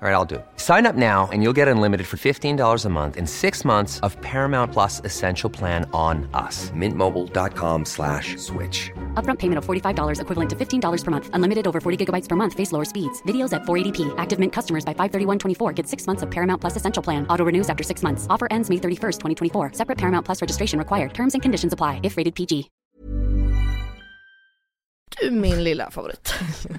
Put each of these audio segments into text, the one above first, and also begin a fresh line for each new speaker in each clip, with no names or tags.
All right, I'll do. it. Sign up now and you'll get unlimited for $15 a month and six months of Paramount Plus Essential Plan on us. Mintmobile.com slash switch.
Upfront payment of $45 equivalent to $15 per month. Unlimited over 40 gigabytes per month. Face lower speeds. Videos at 480p. Active Mint customers by 531.24 get six months of Paramount Plus Essential Plan. Auto renews after six months. Offer ends May 31st, 2024. Separate Paramount Plus registration required. Terms and conditions apply if rated PG.
Du min lilla favorit.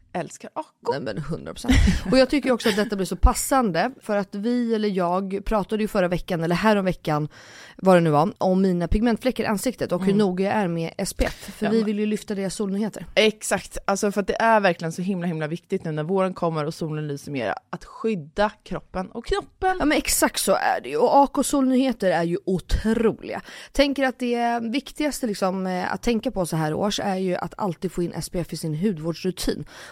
älskar Ako.
Nej men 100%. Och jag tycker också att detta blir så passande för att vi eller jag pratade ju förra veckan eller häromveckan vad det nu var om mina pigmentfläckar i ansiktet och hur noga jag är med SPF. För
Mm. Ja,
vi
men-
vill ju lyfta deras solnyheter.
Exakt, alltså för att det är verkligen så himla himla viktigt nu när våren kommer och solen lyser mer att skydda kroppen och knoppen.
Ja men exakt så är det ju och AK Solnyheter är ju otroliga. Tänker att det viktigaste liksom eh, att tänka på så här års är ju att alltid få in SPF i sin hudvårdsrutin.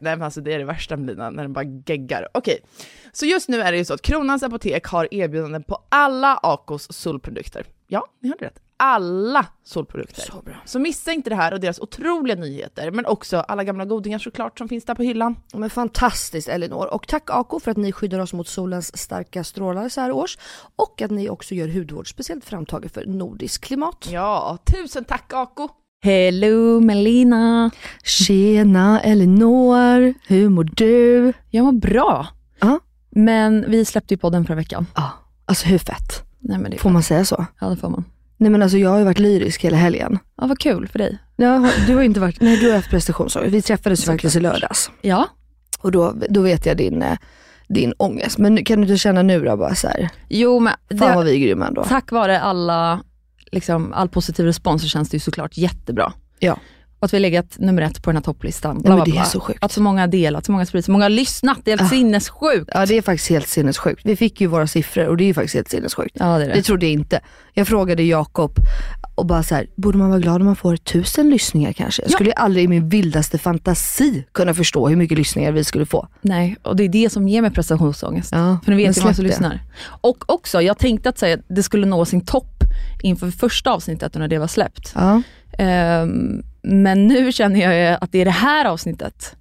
nej men alltså det är det värsta med lina, när den bara geggar. Okej, så just nu är det ju så att Kronans Apotek har erbjudanden på alla Acos solprodukter. Ja, ni hörde rätt. Alla solprodukter. Så, bra. så missa inte det här och deras otroliga nyheter, men också alla gamla godingar såklart som finns där på hyllan.
Men fantastiskt Elinor. Och tack Ako för att ni skyddar oss mot solens starka strålar så här års. Och att ni också gör hudvård speciellt framtagen för nordisk klimat.
Ja, tusen tack Ako!
Hello Melina!
Tjena Elinor, hur mår du?
Jag mår bra.
Ja.
Men vi släppte ju podden förra veckan.
Ja, alltså hur fett?
Nej, men det,
Får man säga så?
ja, det får man.
Nej men alltså jag har ju varit lyrisk hela helgen.
Ja, vad kul för dig.
Ja, du har inte varit, nej du har haft prestationsångest. Vi träffades ju faktiskt i lördags
Ja.
och då, då vet jag din, eh, din ångest. Men nu- kan du inte känna nu då bara så här,
Jo, men
fan vad
det,
vi är grymma ändå.
tack vare alla, liksom, all positiv respons så känns det ju såklart jättebra.
Ja.
Och att vi har legat nummer ett på den här topplistan.
Nej,
Bla,
men
bla,
det är
bla.
så sjukt.
Att så många har delat, så många har spridit, så många har lyssnat. Det är helt
Ah.
sinnessjukt.
Ja det är faktiskt helt sinnessjukt. Vi fick ju våra siffror och det är ju faktiskt helt sinnessjukt.
Ja, det är det.
Det trodde jag inte. Jag frågade Jakob och bara så här, borde man vara glad om man får tusen lyssningar kanske? Jag
Ja.
skulle ju aldrig i min vildaste fantasi kunna förstå hur mycket lyssningar vi skulle få.
Nej, och det är det som ger mig prestationsångest.
Ja,
För
men
ni vet ju hur många som
släpp det.
lyssnar. Och också, jag tänkte att så här, det skulle nå sin topp inför första avsnittet när det var släppt.
Ja.
Ehm, men nu känner jag ju att det är det här avsnittet,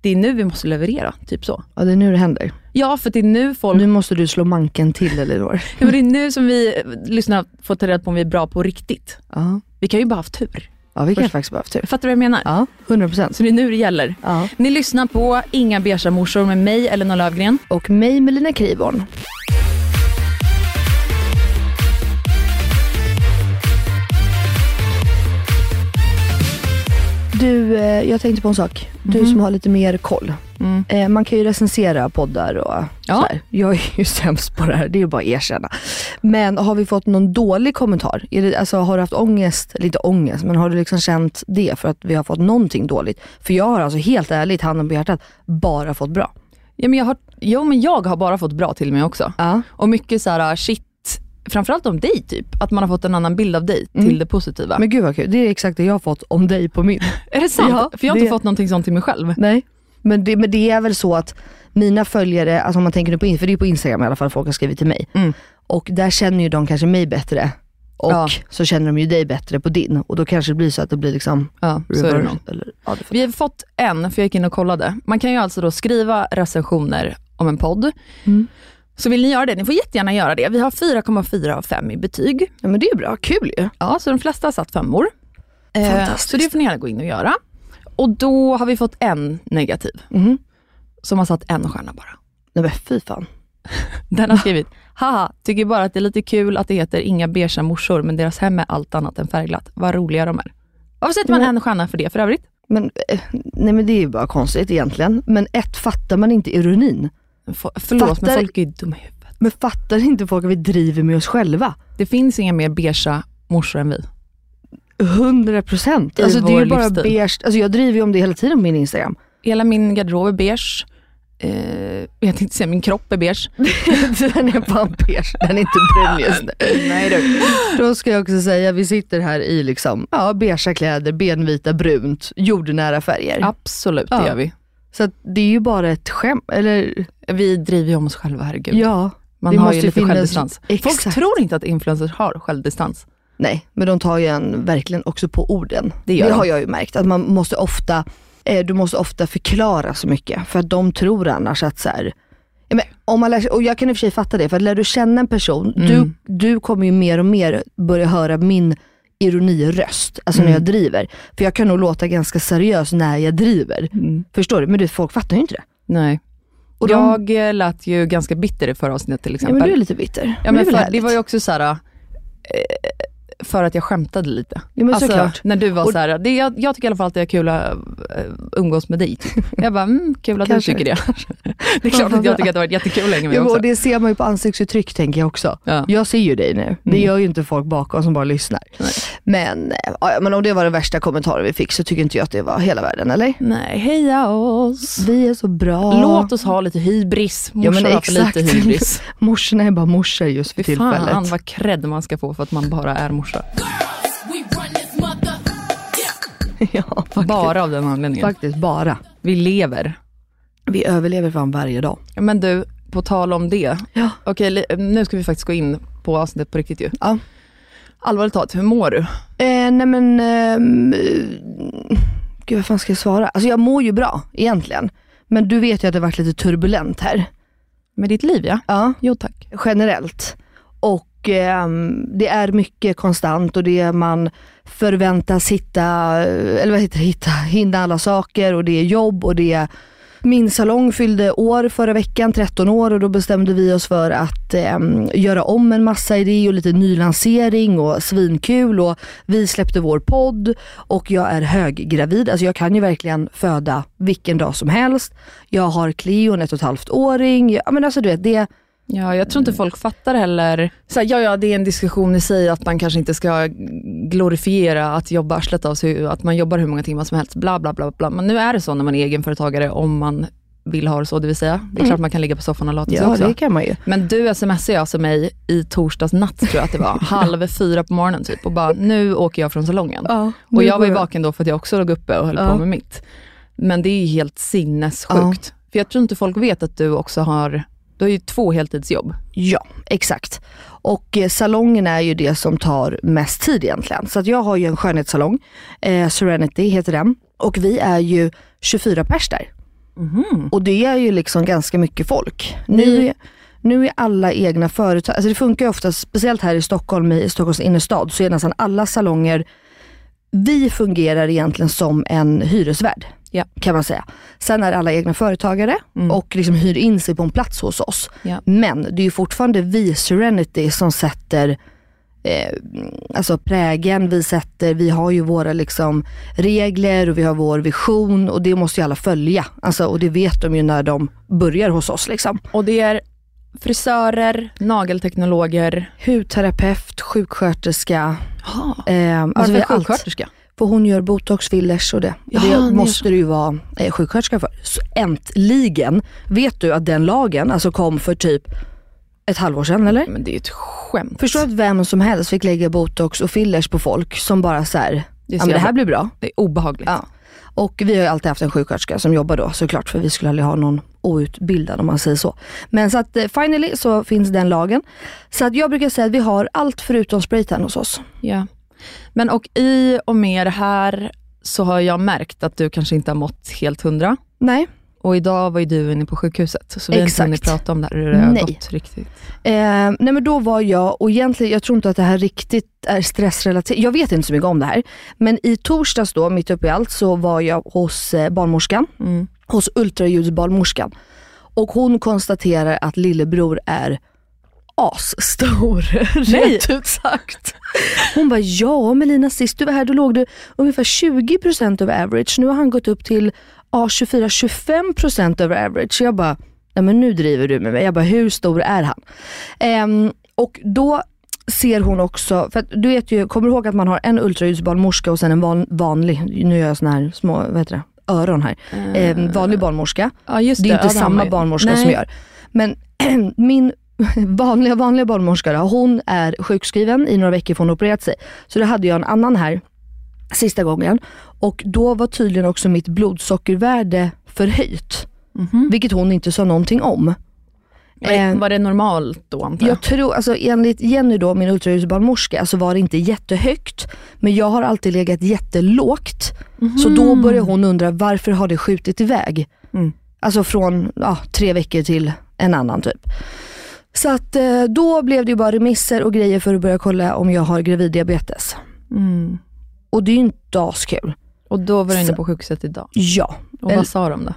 det är nu vi måste leverera. Typ så.
Ja det är nu det händer.
Ja, för det är nu folk,
Nu måste du slå manken till Elinor.
Ja, men det är nu som vi eh, lyssnar får ta reda på om vi är bra på riktigt.
Ja.
Vi kan ju bara ha haft tur.
ja vi kan faktiskt behöva tur.
Fattar du vad jag menar?
Ja, 100 procent.
Så det är nu det gäller.
Ja.
Ni lyssnar på Inga beiga morsor med mig, Elinor Lövgren.
Och mig Melina Kriborn. Du, eh, jag tänkte på en sak. Du
Mhm.
som har lite mer koll.
Mm.
Eh, man kan ju recensera poddar och
Ja.
så här. Jag är ju sämst på det här, det är ju bara att erkänna. Men har vi fått någon dålig kommentar? Är det, alltså, har du haft ångest, lite ångest, men har du liksom känt det för att vi har fått någonting dåligt? För jag har alltså helt ärligt, handen på hjärtat, bara fått bra.
Ja, men jag har, jo, men jag har bara fått bra till mig också.
Ja.
Och mycket så här ah, shit, framförallt om dig typ. Att man har fått en annan bild av dig
Mm.
till det positiva.
Men gud vad kul, det är exakt det jag har fått om dig på min.
är det sant?
Ja,
För jag har inte
det-
fått någonting sånt till mig själv.
Nej. Men det, men det är väl så att mina följare, alltså om man tänker nu på, in- för det är på Instagram i alla fall folk har skrivit till mig.
Mm.
Och där känner ju de kanske mig bättre. Och
Ja.
så känner de ju dig bättre på din. Och då kanske det blir så att det blir liksom
Ja, så är det
reverse.
nog.
eller, ja, det
Vi har fått en, för jag gick in och kollade. Man kan ju alltså då skriva recensioner om en podd.
Mm.
Så vill ni göra det, ni får jättegärna göra det. Vi har 4,4 av 5 i betyg.
ja, men det är ju bra, kul ju.
Ja, så de flesta har satt femmor. Eh,
Fantastiskt.
Så det får ni gärna gå in och göra. Och då har vi fått en negativ,
Mhm.
som har satt en stjärna bara.
Nej men fy fan.
Den har skrivit, haha, tycker bara att det är lite kul att det heter inga beiga morsor, men deras hem är allt annat än färgglatt. Vad roliga de är. Varför sätter man en stjärna för det för övrigt?
Men, eh, nej men det är ju bara konstigt egentligen. Men ett, fattar man inte ironin?
F- förlåt,
Fattar-
men folk är ju dumma i huvudet.
Men fattar inte folk att vi driver med oss själva?
Det finns inga mer beiga morsor än vi.
100 procent.
I
Alltså det är
vår
ju bara
livsstil.
beige. Alltså jag driver ju om det hela tiden på min Instagram.
Hela min garderob är beige. Eh, jag tänkte säga min kropp är beige.
den är fan beige, den är inte brun just nu. Nej du. Då ska jag också säga, vi sitter här i liksom, ja, beigea kläder, benvita, brunt, jordnära färger.
Absolut,
Mm. Ja.
det gör vi.
Så att det är ju bara ett skämt, eller
Vi driver ju om oss själva, herregud.
ja.
man
det
har
måste
ju
ju
lite
finnas-
självdistans. Folk
Exakt.
tror inte att influencers har självdistans.
Nej, men de tar ju en verkligen också på orden.
Det gör de.
har jag ju märkt, att man måste ofta, eh, du måste ofta förklara så mycket. För att de tror annars att så här, ja, men om man lär, sig- och jag kan i och för sig fatta det, för att lär du känna en person,
Mm.
du, du kommer ju mer och mer börja höra min ironiröst, alltså när
Mm.
jag driver. För jag kan nog låta ganska seriös när jag driver. Förstår du? Men du, folk fattar ju inte det.
Nej.
Och de-
Mm. jag eh, lät ju ganska bitter i förra avsnittet till
Ja,
exempel.
men du är lite bitter.
Ja, men
det, är väl
för, det
härligt.
var ju också så här, eh, för att jag skämtade lite. Alltså,
Ja, men såklart.
När du var
Och-
så här, det, jag, jag tycker i alla fall att det är kul att eh, umgås med dig. typ. Jag bara, mm, kul att
Kanske.
du tycker det. det är klart att jag tycker att det har varit jättekul länge med
Ja, men
också.
och det ser man ju på ansiktsuttryck tänker jag också.
Ja.
Jag ser ju dig nu. Det gör ju inte folk bakom som bara lyssnar. Men, eh, ja, men om det var den värsta kommentaren vi fick så tycker inte jag att det var hela världen, eller?
Nej, heja oss.
Vi är så bra.
Låt oss ha lite hybris.
Ja,
Morsor
men
har för
exakt.
lite hybris.
Morsorna är bara morsor just för tillfället.
Fan vad cred man ska få för att man bara är morsa.
ja, faktiskt.
Bara av den anledningen.
Faktiskt bara.
Vi lever.
Vi överlever fan varje dag.
Ja, Men du, på tal om det.
Ja.
Okej, li- nu ska vi faktiskt gå in på avsnittet på riktigt ju.
Ja.
Allvarligt talat, hur mår du?
Eh, nej men, ehm, eh, gud vad fan ska jag svara? Alltså jag mår ju bra egentligen. Men du vet ju att det har varit lite turbulent här.
Med ditt liv ja.
Ja.
Jo tack.
generellt. Och ehm, det är mycket konstant och det är man förväntas hitta, eh, eller vad heter det, hitta, hinna alla saker och det är jobb och det är min salong fyllde år förra veckan, 13 år och då bestämde vi oss för att ehm, göra om en massa idéer och lite nylansering och svinkul och vi släppte vår podd och jag är höggravid. Alltså jag kan ju verkligen föda vilken dag som helst. Jag har Cleo, en ett och ett halvt åring. Ja, men alltså du vet, det,
Ja, jag tror inte folk fattar heller. Så här, ja, ja, det är en diskussion i sig att man kanske inte ska glorifiera att jobba arslet av sig, att man jobbar hur många timmar som helst, bla bla bla. bla. Men nu är det så när man är egenföretagare, om man vill ha det så, det vill säga. Det är klart man kan ligga på soffan och lata sig också.
kan man ju.
Men du smsade alltså mig i torsdags natt, tror jag att det var, halv fyra på morgonen typ och bara, nu åker jag från salongen.
Ja,
Och
nu
jag var ju
går
vaken då för att jag också låg uppe och höll
Ja.
på med mitt. Men det är ju helt sinnessjukt. För jag tror inte folk vet att du också har, du har ju två heltidsjobb.
Ja, exakt. Och eh, salongen är ju det som tar mest tid egentligen. Så att jag har ju en skönhetssalong, eh, Serenity heter den. Och vi är ju 24 pers där. Och det är ju liksom ganska mycket folk. Nu, är- nu är alla egna företag, alltså det funkar ju ofta, speciellt här i Stockholm, i Stockholms innerstad, så är nästan alla salonger, vi fungerar egentligen som en hyresvärd.
Ja.
Kan man säga. Sen är alla egna företagare och liksom hyr in sig på en plats hos oss.
Ja.
Men det är ju fortfarande vi, Serenity, som sätter eh, alltså prägen vi sätter. Vi har ju våra liksom regler och vi har vår vision och det måste ju alla följa. Alltså, och det vet de ju när de börjar hos oss. Liksom.
Och det är frisörer, nagelteknologer.
Hudterapeut, sjuksköterska.
Jaha,
Eh, alltså vi
varför
har allt.
sjuksköterska?
För hon gör botox, fillers och det. Och
Ja, det är
det måste du ju vara eh, sjuksköterska för. Så äntligen, vet du att den lagen alltså kom för typ ett halvår sedan eller?
Men det är ju ett skämt.
Förstår du att vem som helst fick lägga botox och fillers på folk som bara så här,
Det, är
ja
så
men det här
jävla-
blir bra.
det är obehagligt.
Ja. Och vi har ju alltid haft en sjuksköterska som jobbar då såklart för vi skulle aldrig ha någon outbildad om man säger så. Men så att eh, finally så finns den lagen. Så att jag brukar säga att vi har allt förutom spraytan hos oss.
Ja. Men och i och med det här så har jag märkt att du kanske inte har mått helt hundra.
Nej.
Och idag var ju du inne på sjukhuset, så vi har inte
Exakt.
hunnit prata om det här, hur det har
Nej.
gått riktigt.
Eh, nej men då var jag, och egentligen, jag tror inte att det här riktigt är stressrelaterat. Jag vet inte så mycket om det här. Men i torsdags då, mitt uppe i allt, så var jag hos eh, barnmorskan. Hos ultraljudsbarnmorskan. Och hon konstaterar att lillebror är asstor. Rätt ut sagt. Hon bara, ja Melina sist du var här då låg du ungefär 20% över average. Nu har han gått upp till ja, 24-25% över average. Så jag bara, nej men nu driver du med mig. Jag bara, hur stor är han? Ehm, och då ser hon också, för att du vet ju, kommer du ihåg att man har en ultraljudsbarnmorska och sen en van, vanlig, nu gör jag såna här små, vad heter det, öron här. Ehm, vanlig barnmorska.
Ja, just
Det är
Ja,
inte
har man
samma
Eh, ju.
barnmorska
Nej.
som gör. Men min vanliga, vanliga barnmorska då, hon är sjukskriven i några veckor för hon har opererat sig. Så då hade jag en annan här sista gången och då var tydligen också mitt blodsockervärde förhöjt.
Mhm.
Vilket hon inte sa någonting om. Ehm,
Var, var det normalt då antar jag?
Jag tror, alltså enligt Jenny då, min ultraljudsbarnmorska, så var det inte jättehögt. Men jag har alltid legat jättelågt. Så då börjar hon undra, varför har det skjutit iväg?
Mm.
Alltså från ja, tre veckor till en annan typ. Så att eh, då blev det ju bara remisser och grejer för att börja kolla om jag har graviddiabetes.
Mm.
Och det är ju inte askul.
Och då var du inne
Så-
på sjukhuset idag.
Ja.
Och
Eller-
vad sa de då?
Eh,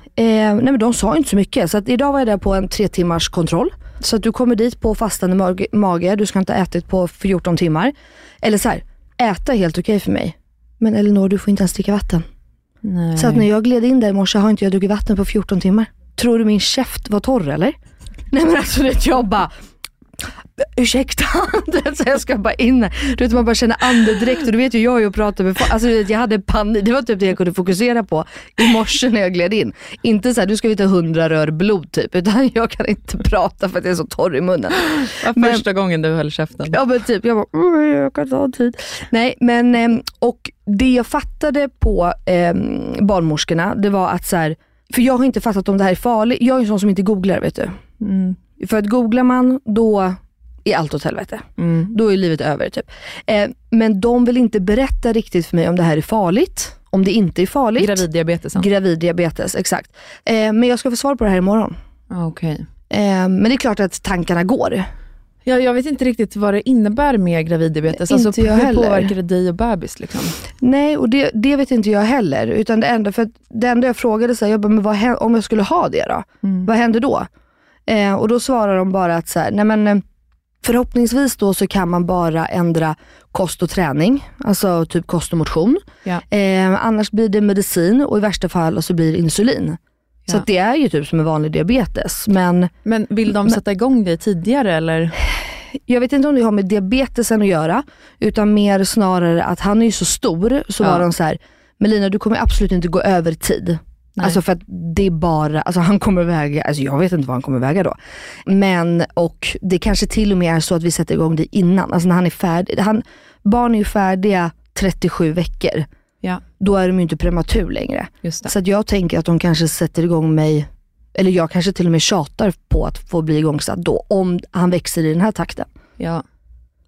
nej men de sa inte så mycket. Så att idag var jag där på en tre timmars kontroll. Så att du kommer dit på fastande mag- mage, du ska inte ha ätit på 14 timmar. Eller så här, äta är helt okej för mig. Men Elinor, du får inte ens dricka vatten.
Nej.
Så att när jag gled in där i morse har inte jag druckit vatten på 14 timmar. Tror du min käft var torr eller? Nej men alltså det jag bara, ursäkta. Du vet, så jag ska bara in här. Du vet man bara känner andedräkt och du vet ju jag är ju och pratar med folk. Alltså du vet, jag hade panik. Det var typ det jag kunde fokusera på i morse när jag gled in. Inte så här, du ska vi ta 100 rör blod typ. Utan jag kan inte prata för att jag är så torr i munnen.
var första gången du höll käften.
Ja men typ, jag bara, "Oj, jag kan ta en tid. Nej men, ehm, och det jag fattade på ehm, barnmorskorna, det var att så här, för jag har inte fattat om det här är farligt. Jag är en sån som inte googlar vet du.
Mm.
För att googlar man, då är allt åt helvete.
Mm.
Då är livet över typ. Eh, men de vill inte berätta riktigt för mig om det här är farligt, om det inte är farligt.
Graviddiabetesen?
Graviddiabetes, exakt. Eh, men jag ska få svar på det här imorgon.
Ah, Okej.
Eh, men det är klart att tankarna går.
Ja, jag vet inte riktigt vad det innebär med graviddiabetes.
Inte
alltså,
jag
hur
heller.
påverkar det dig och bebis? Liksom?
Nej, och det, det vet inte jag heller. Utan det enda, för att det enda jag frågade, så här, jag bara, men vad hän- om jag skulle ha det då? Vad händer då? Eh, och då svarar de bara att så här, nej men, eh, förhoppningsvis då så kan man bara ändra kost och träning, alltså typ kost och motion.
Ja.
Eh, annars blir det medicin och i värsta fall så blir det insulin. Så
Ja.
att det är ju typ som en vanlig diabetes. Men
Men vill de sätta igång dig tidigare? Eller?
jag vet inte om det har med diabetesen att göra, utan mer snarare att han är ju så stor, så
Ja.
var de så här, Melina du kommer absolut inte gå över tid.
Nej.
Alltså för att det är bara, alltså han kommer väga, alltså jag vet inte vad han kommer väga då. Men, och det kanske till och med är så att vi sätter igång det innan, alltså när han är färdig. Han, barn är ju färdiga 37 veckor,
Ja,
då är de ju inte prematur längre.
just det.
Så att jag tänker att de kanske sätter igång mig, eller jag kanske till och med tjatar på att få bli igångsatt då, om han växer i den här takten.
Ja.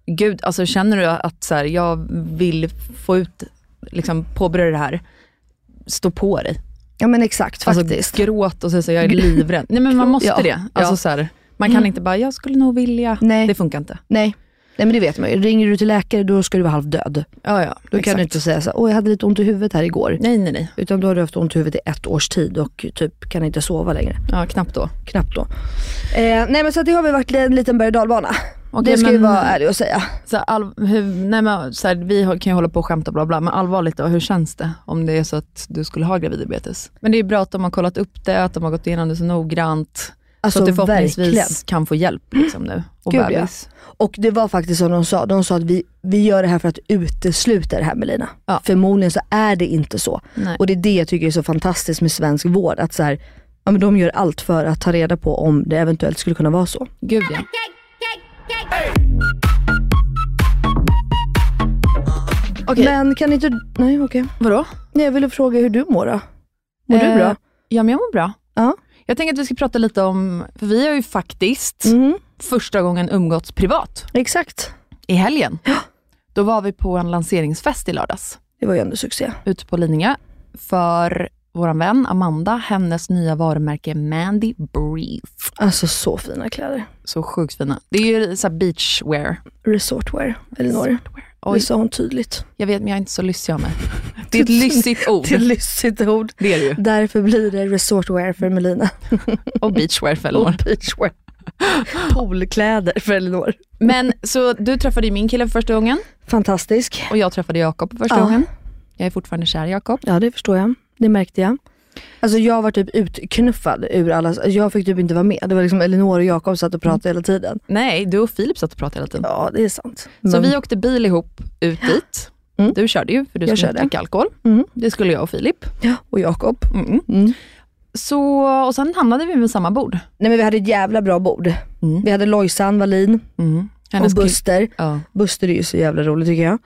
Gud, alltså, känner du att så här, jag vill få ut, liksom, påbörja det här, stå på dig?
Ja men exakt
Alltså,
faktiskt.
Gråt och säga så, jag är livrädd. Nej men man måste
Ja,
det. Alltså,
ja. Mm.
så här, man kan inte bara, jag skulle nog vilja.
Nej.
Det funkar inte.
Nej. Nej men det vet man ju. Ringer du till läkare då ska du vara halvdöd.
Ja, ja,
Då kan du inte säga så här, åh jag hade lite ont i huvudet här igår.
Nej, nej, nej.
Utan då har du haft ont i huvudet i ett års tid och typ kan inte sova längre.
Ja, knappt då.
Knappt då. Eh, nej men så att det har väl varit en liten berg och dalbana.
Okej,
det ska
men-
vi vara ärlig och säga.
Så här, all, hur, nej men, så här, vi har- kan ju hålla på och skämta bla bla, men allvarligt då, hur känns det om det är så att du skulle ha graviddiabetes? Men det är bra att de har kollat upp det, att de har gått igenom det så noggrant. så
Alltså
att du förhoppningsvis
verkligen.
kan få hjälp liksom, nu. Och
Gud, ja.
bebis.
Och det var faktiskt som de sa, de sa att vi, vi gör det här för att utesluta det här Melina.
Ja.
Förmodligen så är det inte så.
Nej.
Och det är det jag tycker är så fantastiskt med svensk vård, att så här, ja, men de gör allt för att ta reda på om det eventuellt skulle kunna vara så.
Gud ja. Okej.
Men kan inte nej okej.
Vadå?
Nej, Jag ville fråga hur du mår då? Mår du
Eh,
bra?
Ja, men jag mår bra.
Ja.
Jag tänker att vi ska prata lite om, för vi har ju faktiskt
Mm,
första gången umgåtts privat
exakt.
i helgen. Då var vi på en lanseringsfest i lördags
Det var ju ändå succé.
ute på Lidingö för vår vän Amanda, hennes nya varumärke Mandy Brief.
Alltså så fina kläder.
Så sjukt fina. Det är ju så här beachwear.
Resortwear, Elinor. Det
Oj,
sa hon tydligt.
jag vet men jag är inte så lyssig av mig. Det är ett lyssigt ord.
Det är ett lyssigt ord.
Det är det ju.
Därför blir det resortwear för Melina.
Och beachwear för Elinor.
beachwear. Poolkläder för Elinor.
Men så du träffade ju min kille för första gången
Fantastisk.
och jag träffade Jakob för första
Ja.
gången. Jag är fortfarande kär i Jakob.
Ja det förstår jag. Det märkte jag. Alltså jag var typ utknuffad ur alla, alltså, jag fick typ inte vara med. Det var liksom Elinor och Jakob satt och pratade hela tiden.
Nej, du och Filip satt och pratade hela tiden.
Ja det är sant.
Så
Men-
vi åkte bil ihop ut dit.
Mm.
Du körde ju, för du
Jag
skulle
körde.
inte dricka alkohol.
Mm.
Det skulle jag och Filip.
Och Jakob.
Mm.
Mm.
Så, och sen hamnade vi vid samma bord.
Nej men vi hade ett jävla bra bord.
Mm.
Vi hade Lojsan Wallin Mm. och
Hennes kill-
Buster.
ja,
Buster är ju så jävla rolig tycker jag.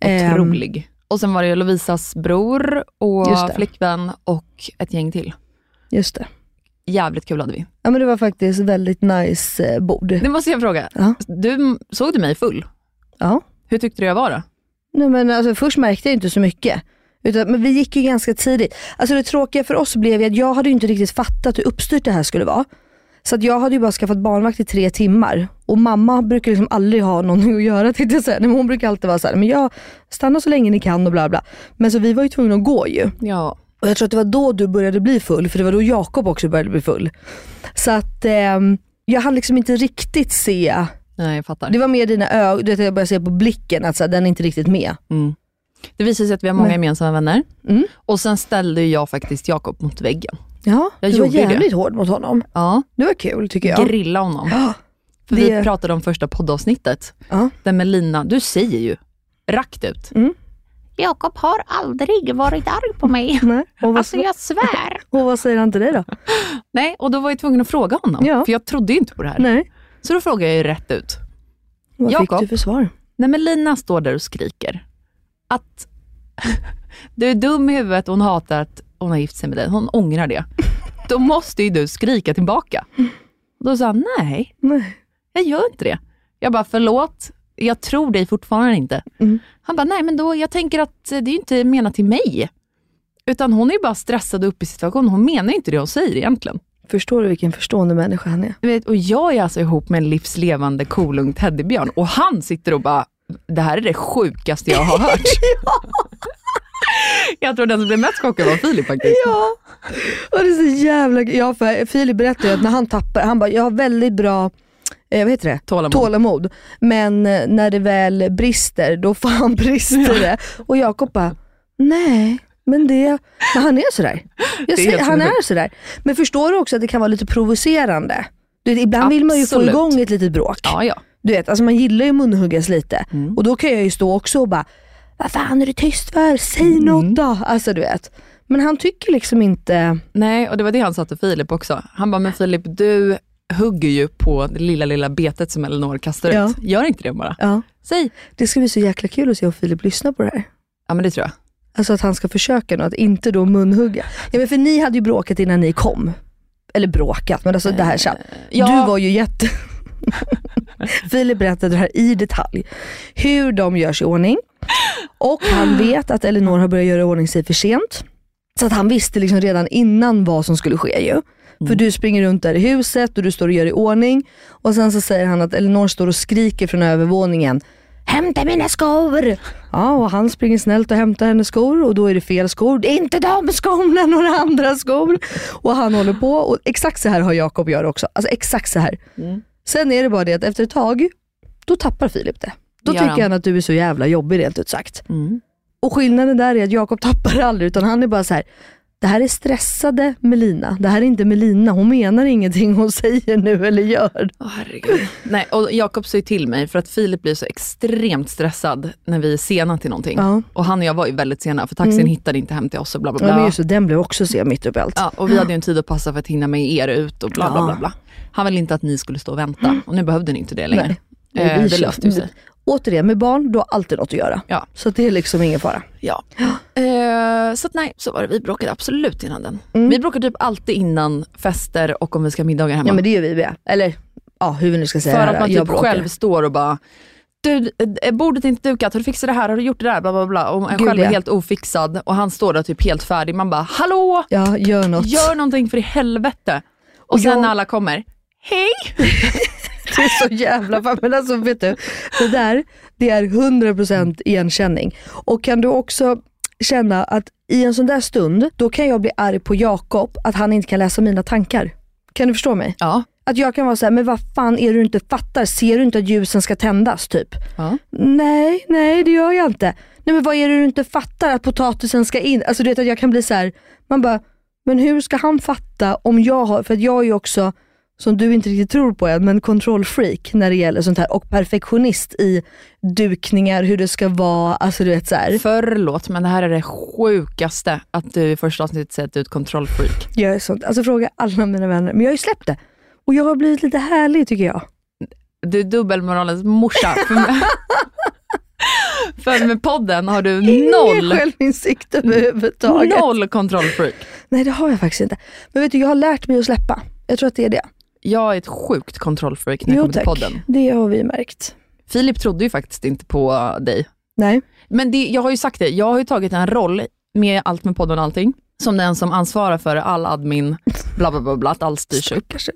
Ehm,
otrolig. och sen var det ju Lovisas bror
Just
och
det.
flickvän och ett gäng till.
Ehm, just det.
Jävligt kul hade vi.
Ja men det var faktiskt väldigt nice eh, bord.
Nu måste jag fråga,
Ja.
du, såg du mig full?
Ja.
Hur tyckte du jag var då?
Nej, men alltså, först märkte jag inte så mycket. Utan, men vi gick ju ganska tidigt. Alltså det tråkiga för oss blev ju att jag hade ju inte riktigt fattat hur uppstyrt det här skulle vara. Så att jag hade ju bara skaffat barnvakt i tre timmar. Och mamma brukar liksom aldrig ha någonting att göra tänkte jag säga. Nej, men Hon brukar alltid vara såhär, men jag stannar så länge ni kan och bla bla. Men så vi var ju tvungna att gå ju.
Ja.
Och jag tror att det var då du började bli full, för det var då Jakob också började bli full. Så att ehm, jag hann liksom inte riktigt se.
Nej, jag fattar.
Det
Det,
var mer dina ögon, du vet jag började se på blicken att så här, den är inte riktigt med.
visar sig att vi har många gemensamma vänner.
Mm.
Och sen ställde ju jag faktiskt Jakob mot väggen.
Ja,
Jag
du var
gjorde det.
jävligt hård mot honom.
Ja.
Det var kul tycker jag.
grilla honom.
Ja,
För
det-
Vi pratade om första poddavsnittet,
Ja.
där med Lina, du säger ju rakt ut.
Mm.
Jakob har aldrig varit arg på mig.
Nej. Och, vad,
Alltså jag svär.
och vad säger han till dig då?
Nej, och då var jag tvungen att fråga honom,
Ja.
för jag trodde ju inte på det här.
Nej.
Så då frågade jag ju rätt ut.
Vad
Jakob.
fick du för svar?
Nej men Lina står där och skriker att du är dum i huvudet och hon hatar att hon har gift sig med dig. Hon ångrar det. Då måste ju du skrika tillbaka. Då sa han, nej,
Nej.
jag gör inte det. Jag bara, förlåt, jag tror dig fortfarande inte.
Mm.
Han bara, nej men då, jag tänker att eh, det är ju inte menat till mig. Utan hon är ju bara stressad och uppe i situationen. Hon menar ju inte det hon säger egentligen.
Förstår du vilken förstående människa han är?
Du Vet, och jag är alltså ihop med en livslevande kolugn teddybjörn och han sitter och bara, det här är det sjukaste jag har hört. jag tror den som blev mest chockad var Filip faktiskt.
Ja. Och det är så jävla ja, för Filip berättade ju att när han tappar, han bara, jag har väldigt bra eh, vad heter det?
Tålamod.
Tålamod. Men eh, när det väl brister, då fan brister det. Och Jakob bara, nej. Men, det, men han är sådär. Jag
Det är
säger,
helt
han
sinnessjukt.
är sådär. Men förstår du också att det kan vara lite provocerande? Du vet, ibland vill man ju få
Absolut.
igång ett litet bråk.
Ja, Mm. ja.
Du vet, alltså man gillar ju munhuggas lite. Och då kan jag ju stå också och bara, vad fan är du tyst för? Säg
Mm.
något då. Alltså du vet. Men han tycker liksom inte,
Nej, och det var det han sa till Filip också. Han bara, men Filip, du hugger ju på det lilla, lilla betet som Elinor kastar
Ja.
ut. Gör inte det bara.
ja.
Säg.
Det ska bli så jäkla kul att se om Filip lyssnar på det här.
Ja, men det tror jag.
Alltså att han ska försöka nu, att inte då munhugga. Ja men för ni hade ju bråkat innan ni kom. Eller bråkat, men alltså det här tjafs.
ja.
Du var ju jätte... Filip berättade det här i detalj. Hur de görs i ordning. Och han vet att Elinor har börjat göra i ordning sig för sent. Så att han visste liksom redan innan vad som skulle ske ju. För du springer runt där i huset och du står och gör i ordning. Och sen så säger han att Elinor står och skriker från övervåningen. Hämta mina skor! Ja, och han springer snällt och hämtar hennes skor och då är det fel skor. Det är inte de skorna, några andra skor. Och han håller på
Mm.
och exakt så här har Jakob gör också. Alltså exakt så här. Sen är det bara det att efter ett tag Då tappar Filip det. Då
Gör
tycker
han.
han att du är så jävla jobbig rent ut sagt.
Mm.
Och skillnaden där är att Jakob tappar det aldrig utan han är bara så här. Det här är stressade Melina. Det här är inte Melina. Hon menar ingenting hon säger nu eller gör.
Åh, herregud. Nej, och Jakob säger till mig för att Filip blir så extremt stressad när vi är sena till någonting.
Ja. Mm.
Och han och jag var ju väldigt sena för taxin hittade inte hem till oss och bla bla bla.
Ja, men just det, den blev också sen mitt upp i allt.
Ja, och vi hade ju en tid att passa för att hinna med er ut och bla bla bla. bla. Han ville inte att ni skulle stå och
Mm.
vänta och nu behövde ni inte det längre.
Vi
Eh, det
kör-
löste ju sig.
Återigen, med barn, du har alltid något att göra.
Ja.
Så det är liksom ingen fara.
Ja. Eh, så att nej, så var det. Vi bråkade absolut innan den.
Mm.
Vi bråkar typ alltid innan fester och om vi ska ha middagar hemma.
Ja men det gör vi med. Eller ja, hur vi nu ska säga
för
det här
att man
då.
typ
Jag bråkar.
själv står och bara du, eh, bordet är inte dukat, har du fixat det här, har du gjort det där, bla bla bla. Och en
Gud,
själv är
ja.
helt ofixad och han står där typ helt färdig. Man bara, hallå,
Ja, gör något.
gör någonting för i helvete. Och,
Och
sen
jag-
när alla kommer, hej!
Det är så jävla fan. Men alltså vet du, det där det är 100% igenkänning. Och kan du också känna att i en sån där stund, då kan jag bli arg på Jakob att han inte kan läsa mina tankar. Kan du förstå mig?
Ja,
Att jag kan vara så här, men vad fan är det du inte fattar? Ser du inte att ljusen ska tändas? Typ.
Ja.
Nej, nej det gör jag inte. Nej men vad är det du inte fattar? Att potatisen ska in? Alltså du vet att jag kan bli så här, man bara, men hur ska han fatta om jag har, för att jag är ju också, som du inte riktigt tror på än, men kontrollfreak när det gäller sånt här och perfektionist i dukningar, hur det ska vara, alltså du vet så här.
förlåt men det här är det sjukaste att du i första avsnittet säger att du är ett kontrollfreak.
Jag är sånt, alltså fråga alla mina vänner, men jag har ju släppt det. Och jag har blivit lite härlig tycker jag.
Du är dubbelmoralens morsa. För med, för med podden har du noll,
Ingen självinsikt överhuvudtaget.
noll kontrollfreak.
Nej det har jag faktiskt inte. Men vet du, jag har lärt mig att släppa. Jag tror att det är det.
Jag är ett sjukt kontrollfreak när jag kommer till podden.
Det har vi märkt.
Filip trodde ju faktiskt inte på dig.
Nej.
Men det, jag har ju sagt det, jag har ju tagit en roll med allt med podden och allting, som den som ansvarar för all admin, bla bla bla, bla att allt styrs upp.
Stackars.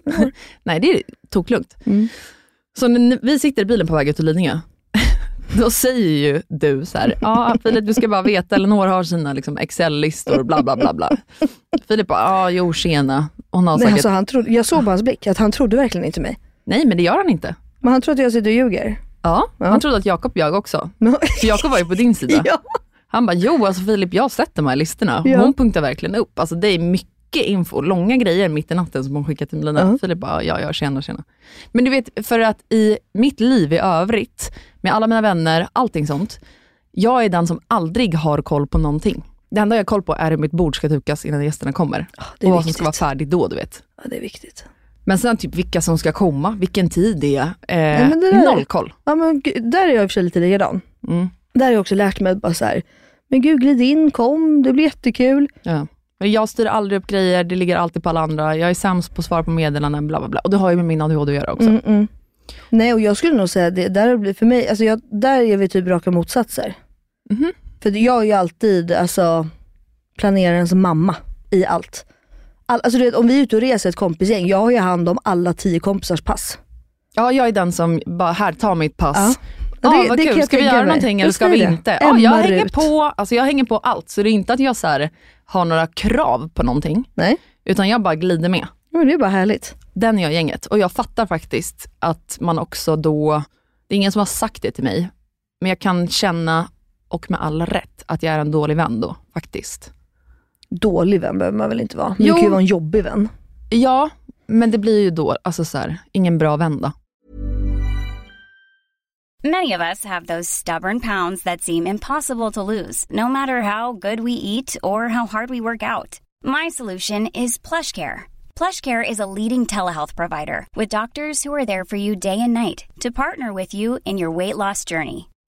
Nej, det är toklugnt.
Mm.
Så när vi sitter i bilen på väg ut till Lidingö, då säger ju du så här, ja Filip du ska bara veta, eller några har sina liksom, Excel-listor, bla bla bla. bla. Filip bara, ja jo tjena, hon har
Nej,
säkert,
alltså, han trodde, jag såg på hans blick att han trodde verkligen inte mig.
nej men det gör han inte.
Men han tror att jag sitter och ljuger.
Ja,
Ja.
han trodde att Jakob ljög också.
No.
För Jakob var ju på din sida.
ja.
Han bara, jo alltså Filip jag har sett de här listorna.
Ja.
Hon punktar verkligen upp. Alltså det är mycket info, långa grejer mitt i natten som hon skickar till Melina.
Ja.
Filip bara, ja ja tjena tjena. Men du vet, för att i mitt liv i övrigt, med alla mina vänner, allting sånt. Jag är den som aldrig har koll på någonting. Det enda jag har koll på är hur mitt bord ska dukas innan gästerna kommer.
Ah, det är
och vad som
viktigt.
ska vara färdigt då, du vet.
ja, det är viktigt.
Men sen typ vilka som ska komma, vilken tid det är. Eh,
men det där-
Noll koll.
Ja, men, gud, där är jag i och för sig lite likadan.
Mm.
Där har jag också lärt mig att bara så här, men gud glid in, kom, det blir jättekul.
Ja. Men jag styr aldrig upp grejer, det ligger alltid på alla andra. Jag är sämst på att svara på meddelanden, bla bla bla. Och det har ju med min ADHD att göra också.
Mm, mm. Nej och jag skulle nog säga det, där blir för mig, alltså jag, där är vi typ raka motsatser.
Mhm.
För jag är ju alltid alltså, planerarens mamma i allt. All, alltså du vet, om vi är ute och reser ett kompisgäng, jag har ju hand om alla tio kompisars pass.
Ja, jag är den som bara, här, ta mitt pass.
Ja.
Ja,
Ja, det-
vad
det kan
kul.
jag
Ska vi
tänka
göra
mig.
någonting eller
Just
ska vi
det.
inte? Ja, jag
Emmar
hänger
ut.
på, alltså jag hänger på allt. Så det är inte att jag så här, har några krav på någonting,
Nej,
utan jag bara glider med.
Ja, men det är bara härligt.
Den är jag i gänget. Och jag fattar faktiskt att man också då, det är ingen som har sagt det till mig, men jag kan känna, och med all rätt, att jag är en dålig vän då, faktiskt.
Dålig vän behöver man väl inte vara? Du
Jo.
kan ju vara en jobbig vän.
Ja, men det blir ju då alltså så här, ingen bra vän då.
Many of us have those stubborn pounds that seem impossible to lose, no matter how good we eat or how hard we work out. My solution is PlushCare. PlushCare is a leading telehealth provider with doctors who are there for you day and night to partner with you in your weight loss journey.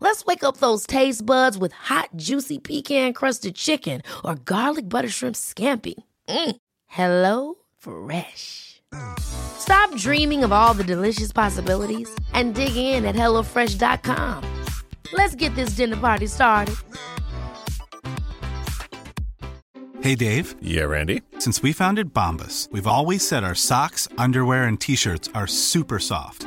Let's wake up those taste buds with hot, juicy pecan crusted chicken or garlic butter shrimp scampi. Mm. Hello Fresh. Stop dreaming of all the delicious possibilities and dig in at HelloFresh.com. Let's get this dinner party started.
Hey, Dave.
Yeah, Randy.
Since we founded Bombus, we've always said our socks, underwear, and t shirts are super soft.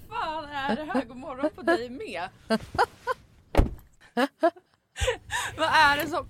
fan är det här? God morgon på dig med. vad, är det som,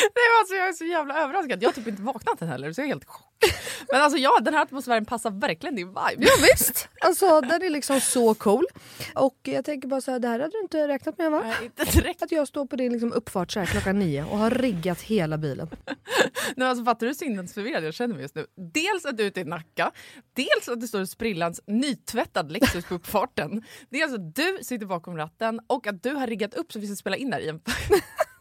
Nej, men alltså, jag är så jävla överraskad, jag har typ inte vaknat än heller så jag är helt i chock. Men alltså ja, den här atmosfären passar verkligen din vibe.
Ja, visst, alltså den är liksom så cool. Och jag tänker bara så här, det här hade du inte räknat med va?
Nej, inte direkt.
Att jag står på din liksom uppfart så här klockan nio och har riggat hela bilen.
Nej, alltså, fattar du hur sinnesförvirrad jag känner mig just nu? Dels att du är ute i Nacka, dels att det står sprillans nytvättad Lexus på uppfarten. Dels att du sitter bakom ratten och att du har riggat upp så vi ska spela in här i en,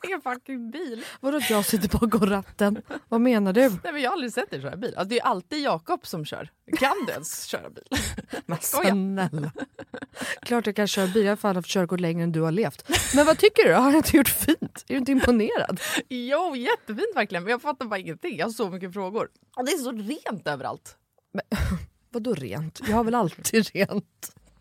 i en fucking bil.
Vadå att jag sitter bakom ratten? Vad menar du?
Nej, men jag har aldrig sett dig köra bil. Alltså, det är alltid Jakob som kör. Kan du ens köra bil?
Men
Skoja.
snälla. Klart jag kan köra bil, jag har fan haft körkort längre än du har levt. Men vad tycker du? Har jag inte gjort fint? Är du inte imponerad?
Jo, jättefint verkligen. Men jag fattar bara ingenting. Jag har så mycket frågor. Och det är så rent överallt.
Vadå rent? Jag har väl alltid rent.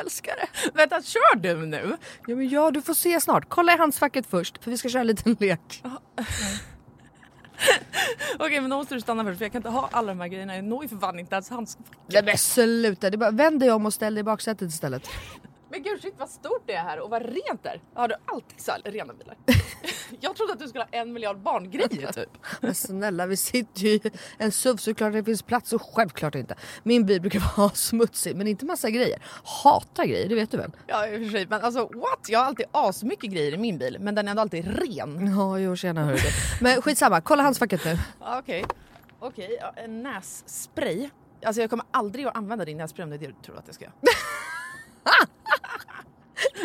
Älskar det. Vänta, kör du nu?
Ja, men ja, du får se snart. Kolla i handskfacket först, för vi ska köra en liten lek.
Okej, men då måste du stanna först för jag kan inte ha alla de här grejerna. Jag når ju för fan inte ens hans...
Nej men sluta, det är bara, vänd dig om och ställ dig i baksätet istället.
Men gud shit vad stort det är här och vad rent det är. Har du alltid så här rena bilar? jag trodde att du skulle ha en miljard barngrejer typ.
Men snälla vi sitter ju i en SUV såklart det finns plats och självklart inte. Min bil brukar vara smutsig men inte massa grejer. Hatar grejer, det vet du väl?
Ja i och för sig men alltså what? Jag har alltid asmycket grejer i min bil men den är ändå alltid ren.
Ja jo tjena hörru du. Men skitsamma, kolla handskfacket nu.
Ja, Okej, okej ja, en nässpray. Alltså jag kommer aldrig att använda din nässpray om det är det du tror att jag ska göra.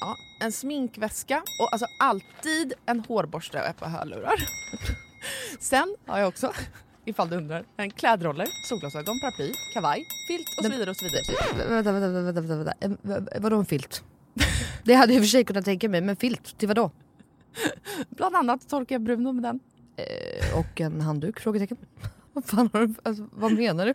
Ja, en sminkväska och alltså alltid en hårborste och ett par hörlurar. Sen har jag också, ifall du undrar, en klädroller, solglasögon, paraply, kavaj, filt och så vidare och så vidare.
Vä- Vänta, vänta, vänta, vänta, vänta. Eh, va- vadå en filt? Det hade jag i och för sig kunnat tänka mig men filt till vadå?
Bland annat torkar jag Bruno med den.
Eh, och en handduk? Frågetecken. Vad fan har du, alltså, vad menar du?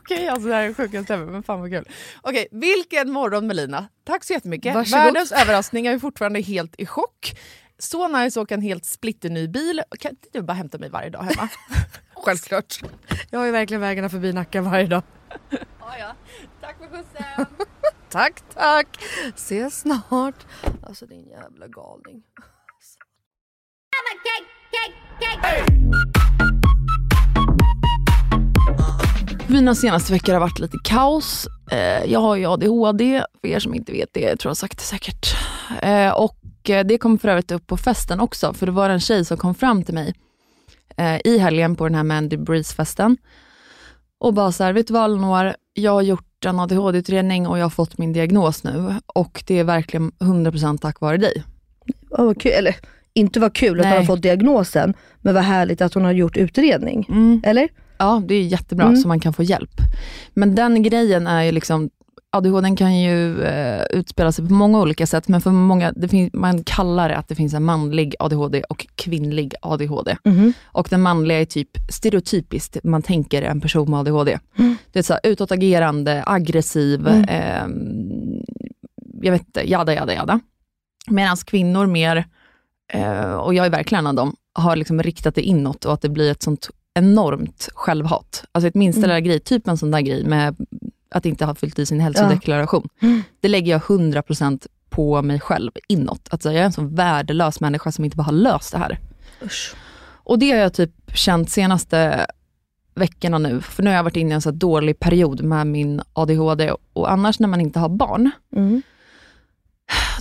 Okej, alltså det här är sjukast ever, men fan vad kul. Okej, vilken morgon Melina. Tack så jättemycket.
Varsågod.
Världens överraskning, jag är fortfarande helt i chock. Så nice att åka en helt splitterny bil. Kan inte du bara hämta mig varje dag hemma?
Självklart. Jag har ju verkligen vägarna förbi Nacka varje dag.
Tack för skjutsen!
Tack, tack. Ses snart. Alltså din jävla galning.
Mina senaste veckor har varit lite kaos. Eh, Jag har ju ADHD, för er som inte vet det, jag tror jag har sagt det säkert. Eh, Och eh, det kom för övrigt upp på festen också, för det var en tjej som kom fram till mig eh, i helgen på den här Mandy Breeze-festen och bara så här, vet du vad Elinor, jag har gjort en ADHD-utredning och jag har fått min diagnos nu och det är verkligen 100% tack vare dig.
Ja, vad kul. Eller inte vad kul att
Nej.
hon har fått diagnosen, men vad härligt att hon har gjort utredning.
Mm.
Eller?
Ja, det är jättebra så man kan få hjälp. Men den grejen är ju liksom, ADHD kan ju eh, utspela sig på många olika sätt, men för många, det fin- man kallar det att det finns en manlig ADHD och kvinnlig ADHD.
Mhm.
Och den manliga är typ stereotypiskt, man tänker en person med ADHD. Det är så här, utåtagerande, aggressiv, ehm, jag vet inte, jada jada jada. Medan kvinnor mer, eh, och jag är verkligen en av dem, har liksom riktat det inåt och att det blir ett sånt enormt självhat. Alltså ett minsta lilla grej, typ en sån där grej med att inte ha fyllt i sin hälsodeklaration. Det lägger jag 100% på mig själv inåt. Att så här, jag är en sån värdelös människa som inte bara har löst det här. Och det har jag typ känt senaste veckorna nu, för nu har jag varit inne i en så här dålig period med min ADHD och annars när man inte har barn,
Mm.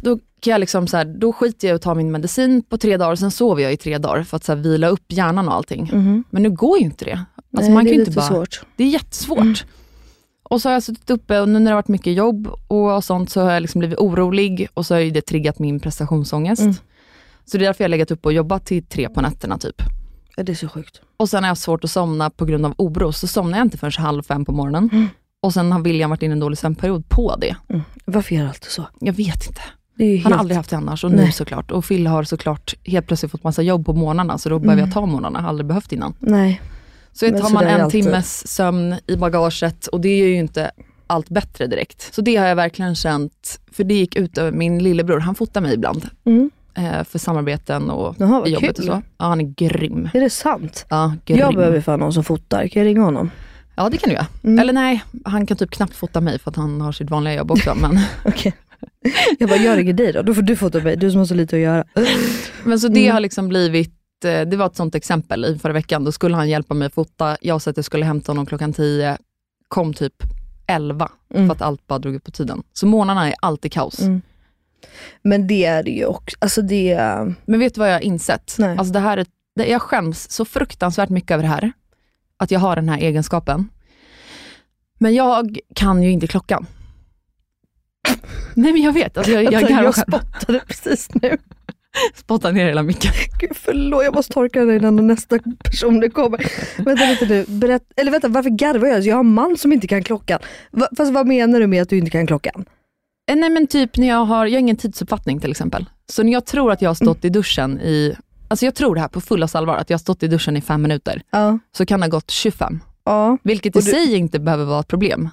då kan jag liksom så här, då skiter jag i att ta min medicin på tre dagar, sen sover jag i tre dagar för att så här vila upp hjärnan och allting. Men nu går ju inte det. Alltså
Mhm. Nej,
man
det är
kan ju inte
lite
bara,
svårt. Mm.
Det är jättesvårt. Och så har jag suttit uppe och nu när det har varit mycket jobb och sånt så har jag liksom blivit orolig och så har ju det triggat min prestationsångest.
Mm.
Så det är därför jag har legat uppe och jobbat till tre på nätterna typ.
Ja, det är så sjukt.
Och sen har jag haft svårt att somna på grund av oro, så somnar jag inte förrän halv fem på morgonen.
Mm.
Och sen har William varit inne i en dålig sömnperiod på det.
Varför gör jag alltid så?
Jag vet inte.
Det är ju
Han har
helt-
aldrig haft det annars och nu
Nej.
såklart. Och Phil har såklart helt plötsligt fått massa jobb på morgnarna, så då behöver jag ta morgnarna, har aldrig behövt innan.
Nej.
Så
Mm. Men
tar
så
man
där är
en
det alltid.
timmes sömn i bagaget och det är ju inte allt bättre direkt. Så det har jag verkligen känt, för det gick ut över min lillebror, han fotar mig ibland.
Mm.
eh, För samarbeten och
Jaha, vad
i jobbet
kul.
och så. Ja, han är grym.
Är det sant?
Ja, grym.
Jag behöver fan någon som fotar, kan jag ringa honom?
Ja, det kan du göra.
Mm.
Eller nej, han kan typ knappt fota mig för att han har sitt vanliga jobb också. Men,
Okej. Jag bara, jag ringer dig då, då får du fota mig, du som har så lite att göra.
men så det
Mm.
har liksom blivit, eh, det var ett sånt exempel i förra veckan. Då skulle han hjälpa mig att fota. Jag sa att jag skulle hämta honom klockan 10, kom typ 11
Mm.
för att allt bara drog ut på tiden. Så månaderna är alltid kaos.
Mm. Men det är det ju också, alltså det är...
Men vet du vad jag har insett?
Nej.
Alltså det här är, det, jag skäms så fruktansvärt mycket över det här. Att jag har den här egenskapen. Men jag kan ju inte klockan. Nej men jag vet, alltså jag, jag,
Alltså,
garvar
jag
själv.
spottade precis nu.
Spotta ner hela micken.
Gud förlåt, jag måste torka den innan nästa person kommer. Vänta lite nu, berätt, eller vänta varför garvar jag? Jag har en man som inte kan klockan. Va, fast vad menar du med att du inte kan klockan?
Eh, Nej men typ när jag har, jag har ingen tidsuppfattning till exempel. Så när jag tror att jag har stått i duschen i, alltså jag tror det här på fullaste allvar, att jag har stått i duschen i fem minuter,
Ja.
så kan det ha gått 25.
ja.
Vilket i
Och du-
sig inte behöver vara ett problem.
Men,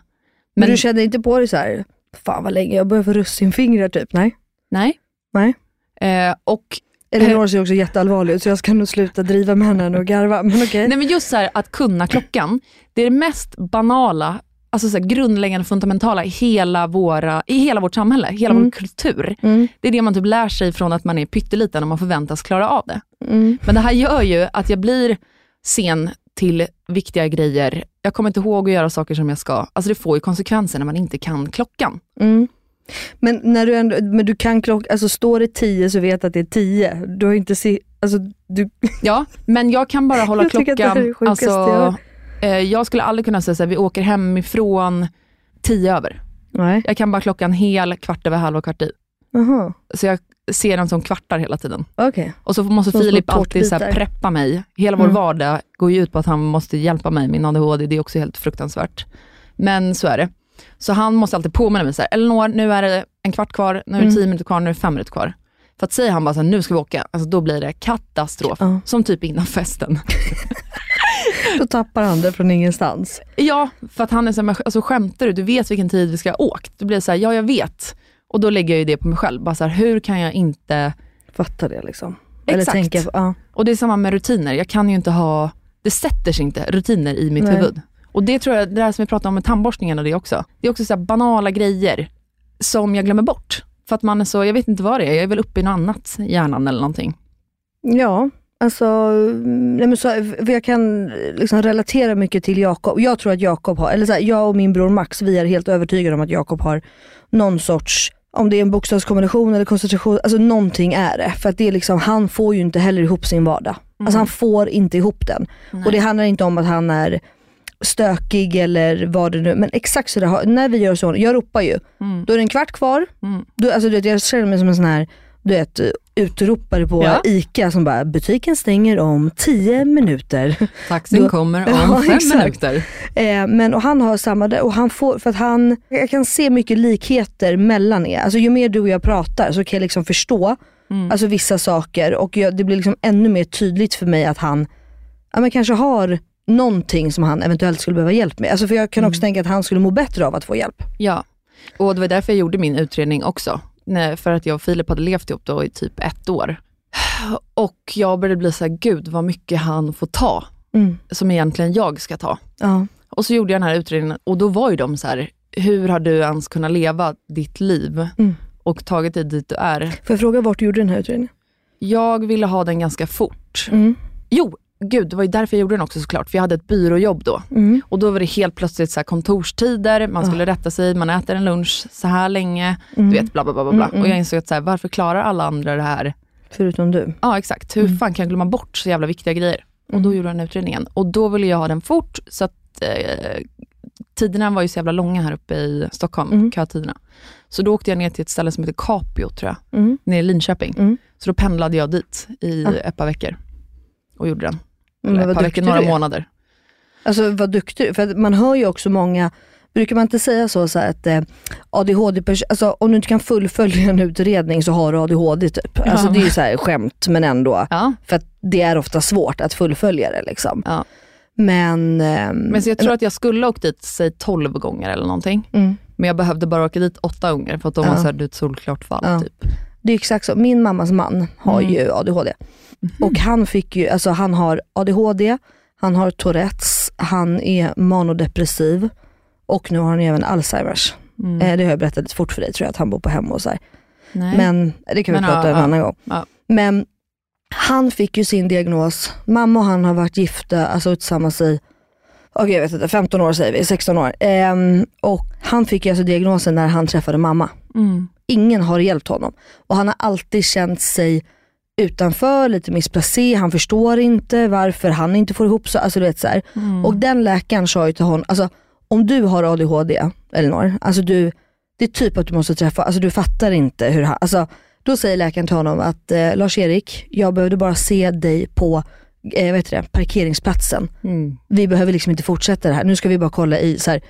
Men-
du känner inte på dig så här, fan vad länge, jag börjar få russinfingrar typ? Nej.
Nej.
Nej.
Eh, och, Eh.
Elinor ser också jätteallvarlig ut så jag ska nog sluta driva med henne och garva. Men okej.
nej men just så här, att kunna klockan, det är det mest banala, alltså så här, grundläggande fundamentala i hela, våra, i hela vårt samhälle, hela vår kultur.
Mm.
Det är det man typ lär sig från att man är pytteliten och man förväntas klara av det. Mm. Men det här gör ju att jag blir sen till viktiga grejer. Jag kommer inte ihåg att göra saker som jag ska. Alltså det får ju konsekvenser när man inte kan klockan.
Mm. Men, när du ändå, men du kan klocka, alltså står det 10 så vet att det är 10. Du har inte se, alltså du...
Ja, men jag kan bara hålla
Jag tycker att det här är det
klockan.
sjukaste jag hört.
eh, jag skulle aldrig kunna säga att vi åker hemifrån tio över.
Nej.
Jag kan bara klockan hel, kvart över halv och kvart i.
Jaha,
Så jag ser den som kvartar hela tiden.
okej.
Och så måste
Som små
Filip alltid så här
tårtbitar.
preppa mig. Hela vår
Mm.
vardag går ju ut på att han måste hjälpa mig. Min ADHD, det är också helt fruktansvärt. Men så är det. Så han måste alltid påminna mig så här, Elinor, nu är det en kvart kvar, nu är det
Mm.
tio minuter kvar, nu är det fem minuter kvar. För att säger han bara så här, nu ska vi åka, alltså då blir det katastrof.
Ja.
Som typ innan festen.
Då tappar han det från ingenstans.
ja, för att han är så här, men sk- alltså skämtar du? Du vet vilken tid vi ska ha åkt. Då blir det så här, ja jag vet. Och då lägger jag ju det på mig själv. Bara så här, hur kan jag inte
Fattar det liksom.
Exakt.
Eller tänker, ja.
Och det är samma med rutiner. Jag kan ju inte ha, det sätter sig inte rutiner i mitt
Nej.
huvud. Och det tror jag, det där som vi pratade om med tandborstningen och det också. Det är också så här banala grejer som jag glömmer bort. För att man är så, jag vet inte vad det är, jag är väl uppe i något annat i hjärnan eller någonting.
Ja, alltså, mm, nej men så, för jag kan liksom relatera mycket till Jakob. Jag tror att Jakob har, eller så här, jag och min bror Max, vi är helt övertygade om att Jakob har någon sorts, om det är en bokstavskombination eller koncentration, alltså någonting är det. För att det är liksom, han får ju inte heller ihop sin vardag. Alltså han får inte ihop den. Och det handlar inte om att han är stökig eller vad det nu Men exakt så det har, när vi gör så, jag ropar ju. Då är det en kvart kvar. Då, alltså, du vet, jag känner mig som en sån här du vet, utropare på
Ja.
ICA som bara, butiken stänger om 10 minuter.
Taxin
Då-
kommer om
Ja,
fem
exakt.
minuter.
Eh, men och han har samma, där, och han får, för att han, jag kan se mycket likheter mellan er. Alltså ju mer du och jag pratar så kan jag liksom förstå
Mm.
alltså, vissa saker och jag, det blir liksom ännu mer tydligt för mig att han ja, men kanske har någonting som han eventuellt skulle behöva hjälp med. Alltså, för jag kan också
Mm.
tänka att han skulle må bättre av att få hjälp.
Ja, och det var därför jag gjorde min utredning också. Nej, För att jag och Filip hade levt ihop då i typ ett år. Och jag började bli så här, gud vad mycket han får ta,
Mm.
som egentligen jag ska ta.
Ja.
Och så gjorde jag den här utredningen och då var ju de så här, hur har du ens kunnat leva ditt liv
Mm.
och tagit dig dit du är?
Får jag fråga vart du gjorde den här utredningen?
Jag ville ha den ganska fort.
Mm.
Jo, gud, det var ju därför jag gjorde den också såklart, för jag hade ett byråjobb då.
Mm. Ah.
Och då var det helt plötsligt så här kontorstider, man skulle rätta sig, man äter en lunch så här länge, du vet bla bla bla. bla, bla.
Mm, mm.
Och jag insåg att så här, varför klarar alla andra det här?
Förutom du. Mm,
Ja exakt, hur fan kan jag glömma bort så jävla viktiga grejer? Och
Mm.
då gjorde jag den här utredningen. Och då ville jag ha den fort, så att eh, tiderna var ju så jävla långa här uppe i Stockholm,
Mm.
kötiderna. Så då åkte jag ner till ett ställe som heter Capio, tror jag,
Mm.
nere i Linköping.
Mm.
Så då pendlade jag dit i
Ah.
ett par veckor och gjorde den.
Men
Eller ett
vad
par veckor,
duktig
några
du är.
månader.
Alltså vad duktig du För att man hör ju också många, brukar man inte säga så, så här att eh, ADHD, alltså, om du inte kan fullfölja en utredning så har du ADHD typ. Alltså det är ju så här skämt men ändå,
Ja.
för att det är ofta svårt att fullfölja det liksom.
Ja.
Men, ehm,
Men så jag tror att jag skulle ha åkt dit, säg 12 gånger eller någonting.
Mm. Ah.
Men jag behövde bara åka dit åtta gånger för att de
Ja.
var så här, du är ett solklart fall.
Ja.
Typ.
det är exakt så. Min mammas man har
Mm. Mhm.
ju ADHD. Och han fick ju, alltså han har ADHD, han har Tourettes, han är manodepressiv och nu har han ju även Alzheimers.
Mm.
Eh, det har jag berättat lite fort för dig tror jag, att han bor på hem och så här.
Nej.
Men det kan vi
Men,
prata
ja,
om en
ja.
annan gång.
Ja.
Men han fick ju sin diagnos, mamma och han har varit gifta, alltså tillsammans i, okej jag vet inte, 15 år säger vi, 16 år. Ehm, och han fick ju alltså diagnosen när han träffade mamma.
Mm.
Ingen har hjälpt honom. Och han har alltid känt sig utanför, lite missplacé, han förstår inte varför han inte får ihop så, alltså du vet så här. Och den läkaren sa ju till honom, alltså om du har ADHD, Elinor, alltså du, det är typ att du måste träffa, alltså du fattar inte hur han, alltså då säger läkaren till honom att eh, Lars-Erik, jag behövde bara se dig på eh, vad heter det, parkeringsplatsen.
Mm.
Vi behöver liksom inte fortsätta det här, nu ska vi bara kolla i så här,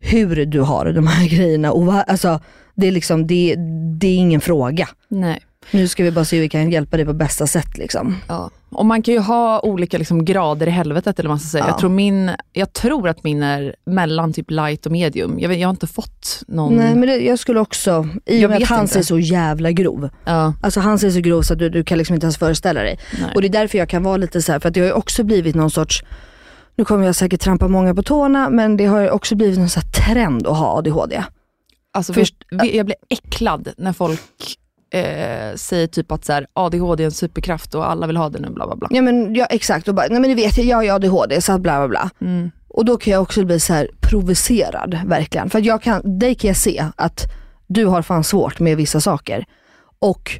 hur du har de här grejerna. Och va, alltså, det, är liksom, det, det är ingen fråga.
Nej.
Nu ska vi bara se hur vi kan hjälpa dig på bästa sätt. Liksom.
Ja. Och man kan ju ha olika liksom grader i helvetet eller vad man ska säga.
Ja.
Jag, tror min, jag tror att min är mellan typ light och medium. Jag, vet, jag har inte fått någon...
Nej men det, jag skulle också, i
Mm. Jag
och med att
vet
han
inte.
ser så jävla grov.
ja.
Alltså han ser så grov så att du, du kan liksom inte ens föreställa dig.
Nej.
Och det är därför jag kan vara lite så här, för att det har ju också blivit någon sorts, nu kommer jag säkert trampa många på tårna, men det har ju också blivit någon så här trend att ha ADHD.
alltså,
först-
först, jag blir äcklad när folk eh, säger typ att så här, ADHD är en superkraft och alla vill ha det nu, bla bla bla.
Ja men ja, exakt, och bara, nej men du vet jag, jag har ju ADHD så att bla bla bla. Och då kan jag också bli så här provocerad verkligen. För att jag kan, dig kan jag se att du har fan svårt med vissa saker. Och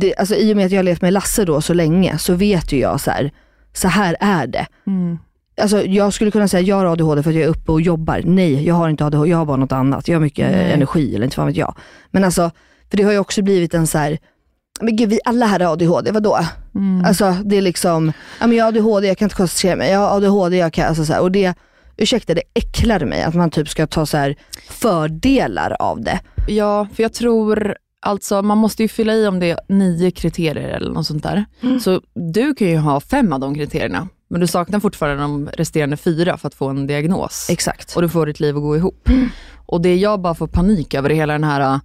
det, alltså, i och med att jag har levt med Lasse då så länge så vet ju jag så här, så här är det. Alltså, jag skulle kunna säga jag har ADHD för att jag är uppe och jobbar. Nej, jag har inte ADHD, jag har bara något annat. Jag har mycket
Nej.
energi eller inte fan vet jag. Men alltså, för det har ju också blivit en så här, men gud vi alla här har ADHD, vadå?
Mm.
Alltså det är liksom, ja, men jag har ADHD, jag kan inte koncentrera mig. Jag har ADHD, jag kan, alltså så här, och det, ursäkta det äcklar mig att man typ ska ta så här fördelar av det.
Ja, för jag tror, alltså man måste ju fylla i om det är nio kriterier eller något sånt där.
Mm.
Så du kan ju ha fem av de kriterierna, men du saknar fortfarande de resterande fyra för att få en diagnos.
Exakt.
Och du får ditt liv att gå ihop. Och det jag bara får panik över är hela den här, äh,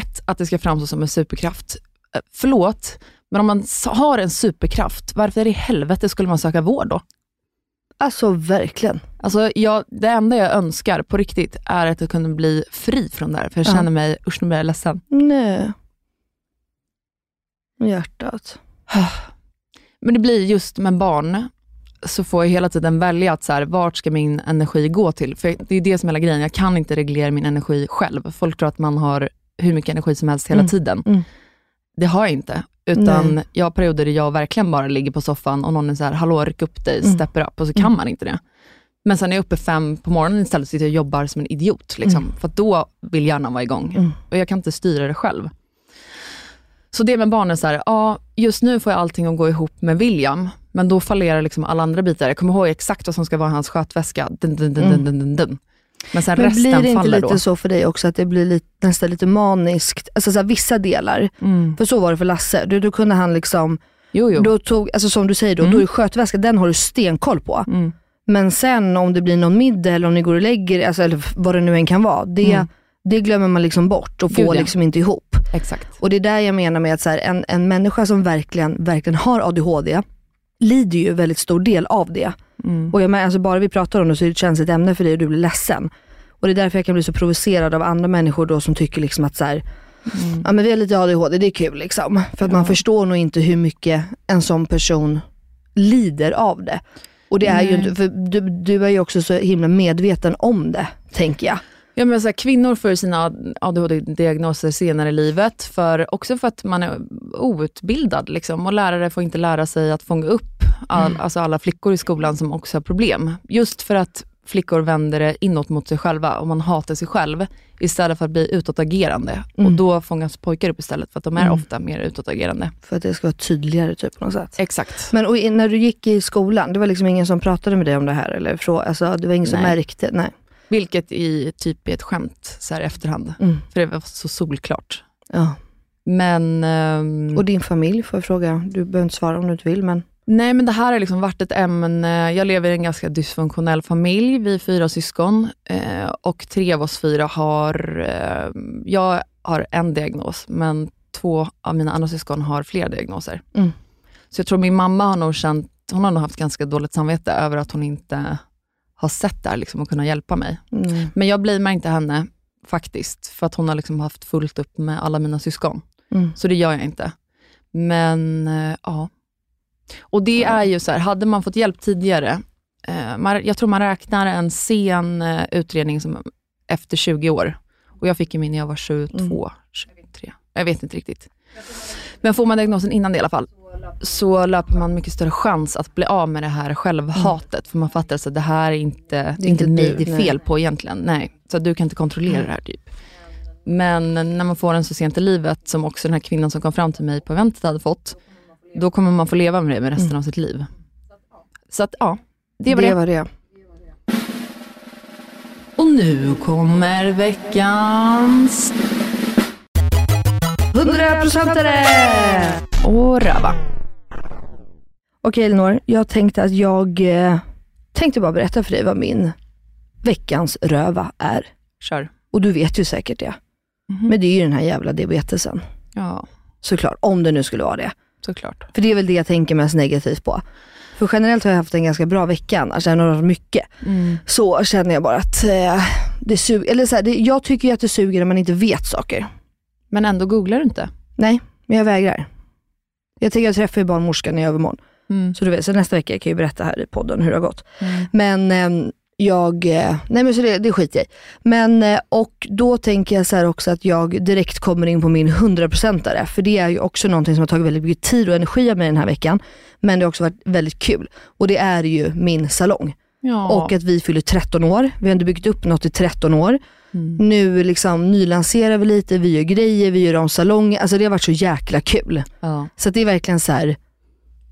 ett, att det ska framstå som en superkraft. Äh, Förlåt, men om man s- har en superkraft, varför i helvete skulle man söka vård då?
Alltså verkligen.
Alltså, jag, det enda jag önskar på riktigt är att jag kunde bli fri från det här, för jag
Ja.
känner mig, usch nu blir jag ledsen.
Nej. Hjärtat.
Men det blir just med barn, så får jag hela tiden välja att så här, vart ska min energi gå till? För det är det som är hela grejen, jag kan inte reglera min energi själv. Folk tror att man har hur mycket energi som helst hela
Mm,
tiden.
mm.
Det har jag inte. Utan
Nej.
jag har perioder där jag verkligen bara ligger på soffan och någon är så här, hallå ryck upp dig,
Mm.
stepper upp, och så kan man inte det. Men sen är jag uppe fem på morgonen istället och sitter och jobbar som en idiot. Liksom,
Mm.
För att då vill hjärnan vara igång.
Mm.
Och jag kan inte styra det själv. Så det med barnen, så här, ja, just nu får jag allting att gå ihop med William, men då fallerar liksom alla andra bitar. Jag kommer ihåg exakt vad som ska vara i hans skötväska. Dun, dun, dun, dun, dun, dun, dun. Men sen
Mm. Men
resten
blir det inte
faller
lite
då.
så för dig också att det blir lite, nästan lite maniskt, alltså så här, vissa delar.
Mm.
För så var det för Lasse, då, då kunde han liksom,
Jo, jo.
då tog, alltså som du säger då, då är skötväskan, den har du stenkoll på.
Mm.
Men sen om det blir någon middag eller om ni går och lägger er, alltså, eller vad det nu än kan vara, det,
Mm.
det glömmer man liksom bort och
Gud,
får
ja.
liksom inte ihop.
Exakt.
Och det är där jag menar med att så här, en, en människa som verkligen, verkligen har ADHD lider ju en väldigt stor del av det. Och jag menar, alltså bara vi pratar om det så är det ett känsligt ämne för dig och du blir ledsen. Och det är därför jag kan bli så provocerad av andra människor då som tycker liksom att så här, ja men vi har lite ADHD, det är kul liksom. För att man förstår nog inte hur mycket en sån person lider av det. Och det är ju
Nej.
inte, för du, du är ju också så himla medveten om det, tänker jag.
Ja, men så här, kvinnor får ju sina ADHD-diagnoser senare i livet, för, också för att man är outbildad. Liksom, och lärare får inte lära sig att fånga upp all,
Mm.
alltså alla flickor i skolan som också har problem. Just för att flickor vänder det inåt mot sig själva och man hatar sig själv istället för att bli utåtagerande. Och
Mm.
då fångas pojkar upp istället för att de är ofta mer utåtagerande.
För att det ska vara tydligare typ på något sätt.
Exakt.
Men och i- när du gick i skolan, det var liksom ingen som pratade med dig om det här? Eller frå, alltså, det var ingen som
Nej.
märkte? Nej.
Vilket i typ är ett skämt så här i efterhand,
Mm.
för det var så solklart.
Ja.
Mm. Men... ehm,
Och din familj får jag fråga? Du behöver inte svara om du inte vill men.
Nej, men det här har liksom varit ett ämne. Jag lever i en ganska dysfunktionell familj. Vi är fyra syskon eh, och tre av oss fyra har... Eh, jag har en diagnos, men två av mina andra syskon har flera diagnoser.
Mm.
Så jag tror min mamma har nog känt, hon har nog haft ganska dåligt samvete över att hon inte har sett det här liksom, och kunnat hjälpa mig.
Mm.
Men jag blamear inte henne faktiskt, för att hon har liksom haft fullt upp med alla mina syskon.
Mm.
Så det gör jag inte. Men eh, ja. Och det är ju så här, hade man fått hjälp tidigare, eh, man, jag tror man räknar en sen eh, utredning som efter 20 år. Och jag fick ju min när jag var 22, 23. Jag vet inte riktigt. Men får man diagnosen innan det i alla fall, så löper man mycket större chans att bli av med det här självhatet. För man fattar så att det här är inte, det är inte
inte
mig
du,
det är
nej.
fel på egentligen. Nej, så att du kan inte kontrollera det här typ. Men när man får den så sent i livet, som också den här kvinnan som kom fram till mig på eventet hade fått, då kommer man få leva med det med resten av sitt liv. Så att ja, det var det. Och nu kommer veckans
100%are!
och röva.
Okej Elinor, jag tänkte att jag eh, tänkte bara berätta för dig vad min veckans röva är.
Kör.
Och du vet ju säkert det.
Mhm.
Men det är ju den här jävla diabetesen.
Ja,
Såklart, om det nu skulle vara det.
såklart.
För det är väl det jag tänker mest negativt på. För generellt har jag haft en ganska bra vecka annars, även om det har varit mycket. Så känner jag bara att eh, det suger, eller så här, det, jag tycker ju att det suger när man inte vet saker.
Men ändå googlar du inte.
Nej, men jag vägrar. Jag tänker jag träffar ju barnmorskan i övermorgon. Så du vet, så nästa vecka kan jag ju berätta här i podden hur det har gått. Men ehm, jag, eh, nej men så det, det skiter jag i. Men, eh, och då tänker jag så här också att jag direkt kommer in på min 100%are. För det är ju också någonting som har tagit väldigt mycket tid och energi av mig den här veckan. Men det har också varit väldigt kul. Och det är ju min salong.
Ja.
Och att vi fyller 13 år. Vi har ändå byggt upp något i 13 år.
Mm.
Nu liksom nylanserar vi lite, vi gör grejer, vi gör om salongen. Alltså det har varit så jäkla kul.
Ja.
Så att det är verkligen så här,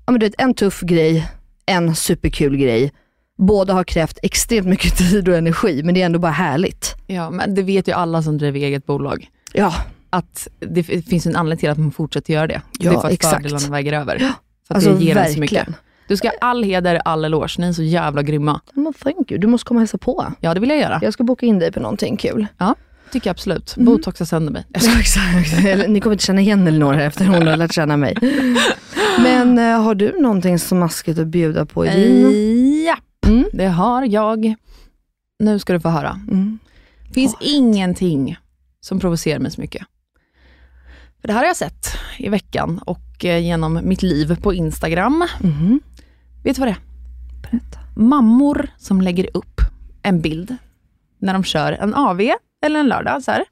ja, men du vet, en tuff grej, en superkul grej. Båda har krävt extremt mycket tid och energi, men det är ändå bara härligt.
Ja, men det vet ju alla som driver eget bolag.
Ja.
Att det f- finns en anledning till att man fortsätter göra det.
Ja,
det är för att
exakt.
fördelarna väger över. För att
Alltså,
det ger en så
verkligen.
mycket. Du ska ha all heder, all eloge. Ni är så jävla grymma.
Men thank you, du måste komma och hälsa på.
Ja, det vill jag göra.
Jag ska boka in dig på någonting kul.
Ja, tycker jag absolut.
Mm.
Botoxa sönder mig.
Ja, exakt. Eller, Ni kommer inte känna igen Elinor här efter hon har lärt känna mig. Men eh, har du någonting smaskigt att bjuda på i
Eh,
din?
Ja, Eh, det har jag. Nu ska du få höra. Det finns ingenting som provocerar mig så mycket. För det här har jag sett i veckan och eh, genom mitt liv på Instagram. Vet du vad det är? Mammor som lägger upp en bild när de kör en AV eller en lördag. Så, här.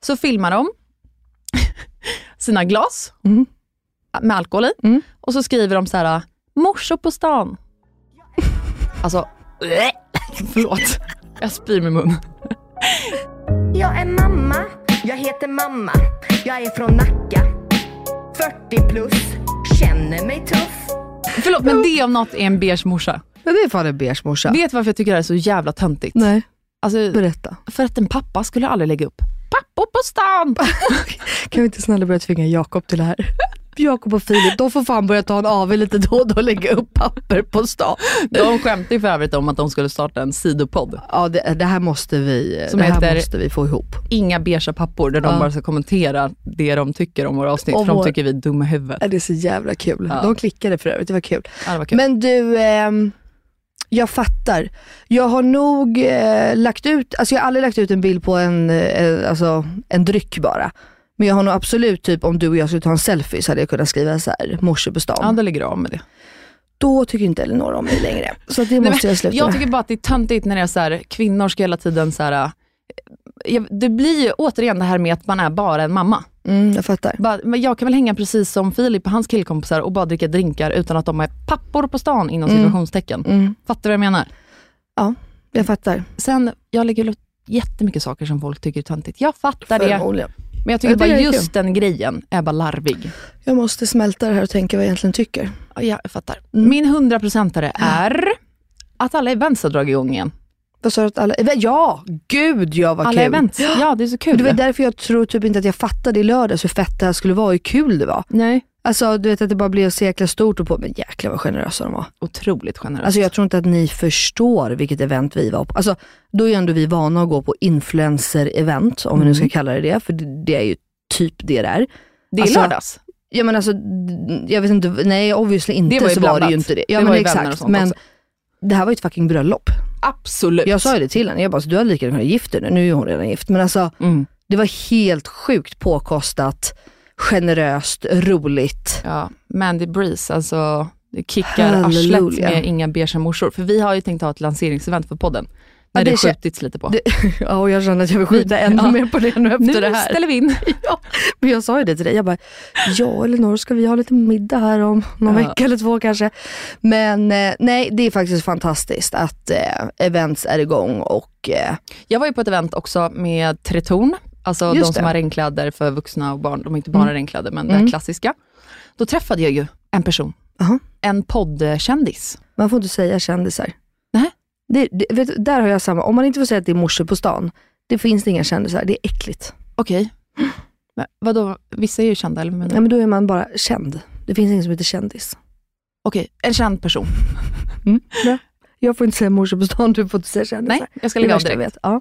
så filmar de sina glas med alkohol i och så skriver de så här, morsor på stan. Alltså, förlåt. Jag spyr med mun.
Jag är mamma, jag heter mamma. Jag är från Nacka. 40 plus, känner mig tuff.
Förlåt, men det om något är en beige morsa.
Ja, det är fan en beige morsa.
Vet du varför jag tycker det här är så jävla töntigt?
Nej.
Alltså,
Berätta.
För att en pappa skulle aldrig lägga upp Pappa på stan!
Kan vi inte snälla börja tvinga Jakob till det här? Jakob och Filip, de får fan börja ta en AV lite då och då och lägga upp papper på stan.
De skämtade ju för övrigt om att de skulle starta en sidopodd.
Ja, det, det här måste vi,
Som
det här
heter-
måste vi få ihop.
Inga beigea pappor där de
Ja.
bara ska kommentera det de tycker om våra avsnitt,
Om
för de
vår-
tycker vi är dumma i huvudet.
Ja, Det är så jävla kul.
Ja.
De klickade för övrigt, det var kul.
Ja, det var kul.
Men du, ehm, jag fattar. Jag har nog eh, lagt ut, alltså jag har aldrig lagt ut en bild på en, eh, alltså, en dryck bara. Men jag har nog absolut, typ om du och jag skulle ta en selfie så hade jag kunnat skriva så här, morse på stan.
Ja, då lägger du av med det.
Då tycker inte Elinor om mig längre. Så att det
Nej,
måste
men
jag sluta
Jag
med.
tycker bara att det är töntigt när det är så här, kvinnor ska hela tiden så här, eh, jag, det blir ju återigen det här med att man är bara en mamma.
Mm, jag fattar.
Bara, men jag kan väl hänga precis som Filip och hans killkompisar och bara dricka drinkar utan att de är pappor på stan inom
Mm.
situationstecken.
Mm.
Fattar du vad jag menar?
Ja, jag fattar.
Sen, jag lägger upp jättemycket saker som folk tycker är töntigt. Jag fattar det.
Förmodligen.
Men jag tycker
Jag tycker
bara
det är
just den grejen är bara larvig.
Jag måste smälta det här och tänka vad jag egentligen tycker.
Ja, jag fattar. Mm. Min hundraprocentare är att alla events har dragit igång igen.
Vad sa du att alla... Ja, gud ja vad
Alla
kul.
events. Ja, det är så kul.
Det var därför jag tror typ inte att jag fattade i lördags hur fett det här skulle vara och hur kul det var.
Nej.
Alltså du vet att det bara blev så jäkla stort och på, men jäklar vad generösa de var.
Otroligt generöst.
Alltså jag tror inte att ni förstår vilket event vi var på. Alltså då är ju ändå vi vana att gå på influencer-event, om vi nu ska
Mm.
kalla det det, för det, det är ju typ det det är.
Det är
alltså,
lördags.
Ja men alltså, d- jag vet inte, nej obviously inte
Det var ju
så var det
blandat.
ju inte det. Ja
Det var
men
ju vänner och
exakt,
sånt
men
också.
det här var ju ett fucking bröllop.
Absolut.
Jag sa ju det till henne, jag bara, så du hade lika gärna kunnat gifta dig nu, nu är hon redan gift. Men alltså, det var helt sjukt påkostat, generöst, roligt.
Ja, Mandy Breeze, alltså det kickar arslet
Halleluja.
med inga beiga morsor. För vi har ju tänkt ha ett lanseringsevent för podden. När
Ja,
det,
det kän-
skjutits lite på.
Det, ja, och jag känner att jag vill skjuta ännu
Ja.
mer på det nu efter
Nu
det här.
ställer vi in.
Ja, men jag sa ju det till dig, jag bara, ja Elinor, ska vi ha lite middag här om någon
Ja.
vecka eller två kanske? Men eh, nej, det är faktiskt fantastiskt att eh, events är igång och eh,
Jag var ju på ett event också med Tretorn, alltså
Just
de som
det.
har regnkläder för vuxna och barn. De har inte bara
Mm.
regnkläder, men det
Mm.
här klassiska. Då träffade jag ju en person, en poddkändis.
man får inte säga kändisar.
Nej.
Det, det, vet, du, där har jag samma, om man inte får säga att det är morsor på stan, det finns det inga kändisar, det är äckligt.
Okej. Men Vadå, vissa är ju kända, eller? Men...
Nej men då är man bara känd. Det finns ingen som heter kändis.
Okej, en känd person.
Jag får inte säga morsor på stan, du får inte säga kändisar.
Nej, jag ska lägga
Det är
av
värsta jag
direkt.
vet. Ja.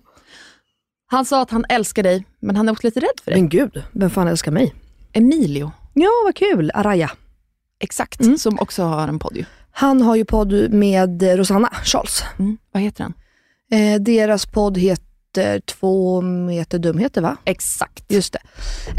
Han sa att han älskar dig, men han är också lite rädd för dig.
Men gud, vem fan älskar mig?
Emilio,
Ja, vad kul. Araya.
exakt, Mm. som också har en podd ju.
Han har ju podd med Rosanna Charles.
Vad heter den?
Eh, deras podd heter heter Två meter dumheter va?
Exakt.
Just det.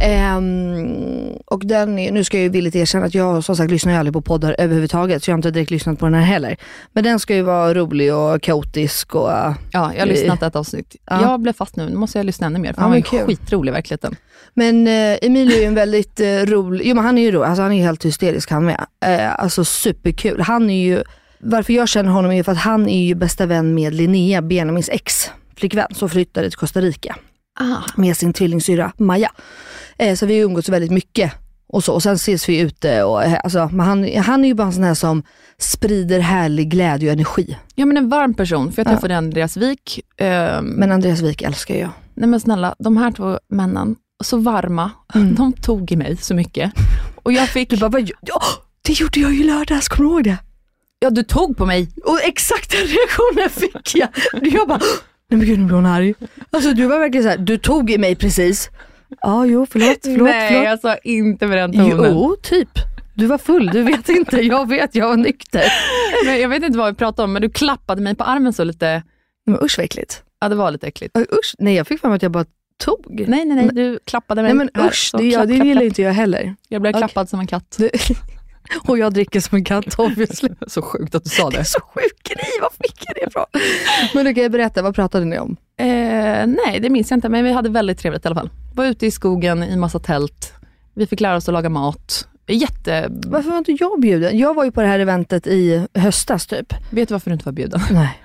Ehm, och den är, nu ska jag ju villigt erkänna att jag som sagt lyssnar ju aldrig på poddar överhuvudtaget så jag har inte direkt lyssnat på den här heller. Men den ska ju vara rolig och kaotisk och... Ja,
jag har lyssnat ett avsnitt. Jag blev fast nu, nu måste jag lyssna ännu mer, för
Ja,
han var
men kul.
ju skitrolig i verkligheten.
Men eh, Emilio är ju en väldigt eh, rolig, jo men han är ju rolig, alltså han är ju helt hysterisk han med. Eh, alltså superkul. Han är ju, varför jag känner honom är ju för att han är ju bästa vän med Linnea, Benjamins ex flickvän som flyttade till Costa Rica med sin tvillingsyrra Maja. Eh, så vi har umgåtts väldigt mycket och så. Och sen ses vi ute och eh, alltså, men han, han är ju bara en sån här som sprider härlig glädje och energi.
Ja men en varm person, för jag träffade Andreas Wik. men
Andreas Wik älskar jag.
Nej men snälla, de här två männen, så varma, de tog i mig så mycket. Och jag fick... Mm. Du
bara, vad, ja, det gjorde jag ju lördags, kommer du ihåg det?
Ja, du tog på mig.
Och exakt den reaktionen fick jag. Jag bara, nej men gud nu blir hon arg. Alltså du var verkligen så här, du tog i mig precis. Ja, jo förlåt, förlåt,
Nej,
förlåt.
jag sa inte med den tonen.
Jo, typ. Du var full, du vet inte. Jag vet, jag var nykter.
Men jag vet inte vad vi pratade om, men du klappade mig på armen så lite...
Men usch vad äckligt.
Ja, det var lite äckligt.
Usch, nej jag fick för mig att jag bara tog.
Nej, nej, nej, du klappade mig.
Nej men
här,
usch,
så
det,
klapp,
jag, det
klapp,
gillar
klapp.
inte jag heller.
Jag blev
Okej.
klappad som en katt.
Och jag dricker som en katt obviously.
så sjukt att du sa det.
är så sjuk grej, var fick jag det ifrån? Men du kan ju berätta, vad pratade ni om?
Eh, nej, det minns jag inte, men vi hade väldigt trevligt i alla fall. Var ute i skogen i massa tält. Vi fick lära oss att laga mat. Jätte...
Varför var inte jag bjuden? Jag var ju på det här eventet i höstas typ.
Vet du varför du inte var bjuden?
Nej.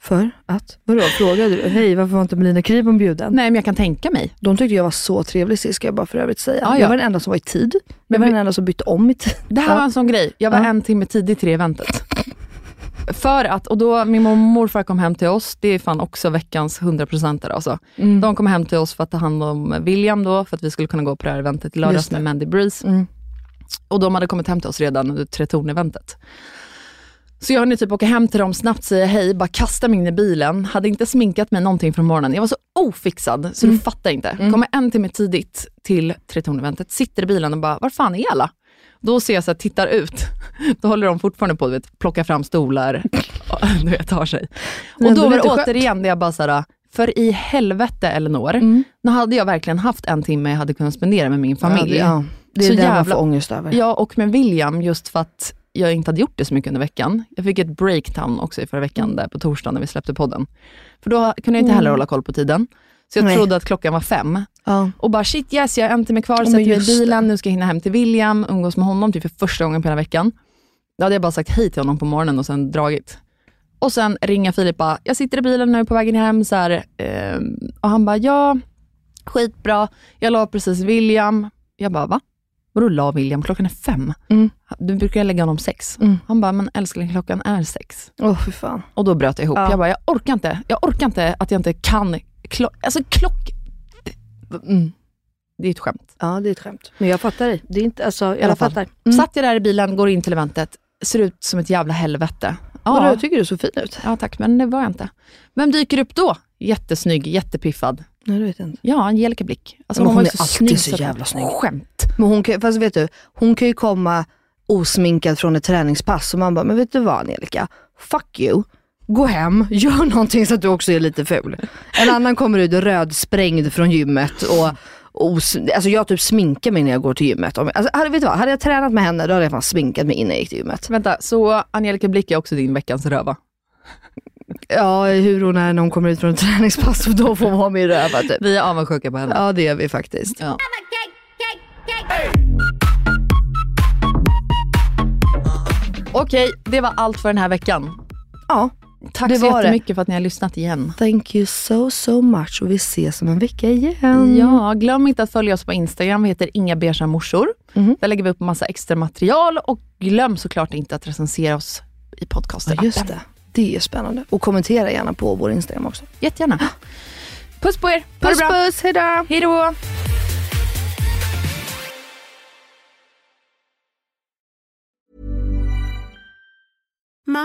För att? Vadå, frågade du? Hej, varför var inte Melina Kribon bjuden?
Nej, men jag kan tänka mig.
De tyckte jag var så trevlig sist, ska jag bara för övrigt säga.
Ja, ja.
Jag var den enda som var i tid. Jag
Men
var
vi-
den enda som bytte om i tid.
Det här
Ja.
var en sån grej. Jag var
Ja.
en timme tidig till det eventet. För att, och då min mormor och morfar kom hem till oss, det är fan också veckans 100% alltså.
Mm.
De kom hem till oss för att ta hand om William då, för att vi skulle kunna gå på det här eventet i
Just
lördags
det. Mm.
med Mandy Breeze. Och de hade kommit hem till oss redan under Tretorn-eventet. Så jag hann ju typ åka hem till dem snabbt, säga hej, bara kasta mig in i bilen. Hade inte sminkat mig någonting från morgonen. Jag var så ofixad så
Mm.
du fattar inte. Kommer en timme tidigt till Tretorn-eventet, sitter i bilen och bara, var fan är alla? Då ser jag så här, tittar ut. Då håller de fortfarande på att plocka fram stolar. Ja, Du vet, tar sig.
Men
Och
ändå
då var det
lite skönt. Mm.
återigen det jag bara så här, för i helvete Elinor, nu hade jag verkligen haft en timme jag hade kunnat spendera med min
Ja,
familj.
det, ja. det är
Så
det jag
jävla-
får ångest över.
Ja, och med William, just för att jag inte hade gjort det så mycket under veckan. Jag fick ett breakdown också i förra veckan, där på torsdagen när vi släppte podden. För då kunde jag inte heller
Mm.
hålla koll på tiden. Så jag
Nej.
trodde att klockan var fem.
Ja.
Och bara shit yes, jag har en timme kvar,
Ja,
sätter
men
mig i
just det.
bilen, nu ska jag hinna hem till William, umgås med honom typ för första gången på hela veckan. Då hade jag bara sagt hej till honom på morgonen och sen dragit. Och sen ringer Filip bara, jag sitter i bilen nu på vägen hem. Så här, ehm, och han bara, ja, skitbra. Jag la precis William. Jag bara, va? Vadå la William? Klockan är fem.
Mm.
Du brukar ju lägga honom sex. Han bara, men älskling klockan är sex.
Åh fy fan.
Och då bröt jag ihop.
Ja.
Jag bara, jag orkar inte. Jag orkar inte att jag inte kan. Klo- alltså klock... Det är ett skämt.
Ja, det är ett skämt. Men jag fattar dig. Det är inte, alltså, jag
I alla fall. Mm.
fattar.
Satt jag där i bilen, går in till eventet, ser ut som ett jävla helvete.
Vadå, jag tycker du såg fin ut.
Ja, tack, men det var jag inte. Vem dyker upp då? Jättesnygg, jättepiffad.
Nej, du vet jag inte.
Ja, Angelica Blick. Alltså,
Men
hon, var
hon
ju
är
så
alltid
snygg
så
att-
jävla snygg.
Skämt.
Men hon kan, fast vet du, hon kan ju komma osminkad från ett träningspass och man bara, men vet du vad Angelica? Fuck you. Gå hem, gör någonting så att du också är lite ful. En annan kommer ut rödsprängd från gymmet och os, alltså jag typ sminkar mig när jag går till gymmet. Om- Alltså, hade, vet du vad? hade jag tränat med henne då hade jag fan sminkat mig innan jag gick till gymmet.
Vänta, så Angelica Blick är också din veckans röva?
Ja, hur hon är när hon kommer ut från ett träningspass, då får hon ha mig i röva typ.
Vi är avundsjuka på henne.
Ja det är vi faktiskt.
Ja. Okej, det var allt för den här veckan.
Ja,
Tack
det
så
var det.
jättemycket för att ni har lyssnat igen.
Thank you so so much och vi ses om en vecka igen.
Ja, glöm inte att följa oss på Instagram. Vi heter Inga Beiga Morsor.
Mm.
Där lägger vi upp massa extra material och glöm såklart inte att recensera oss i podcasten.
Ja, just det. Det är spännande. Och kommentera gärna på vår Instagram också.
Jättegärna. Puss på er.
Puss puss, hejdå!
Hejdå!
Mom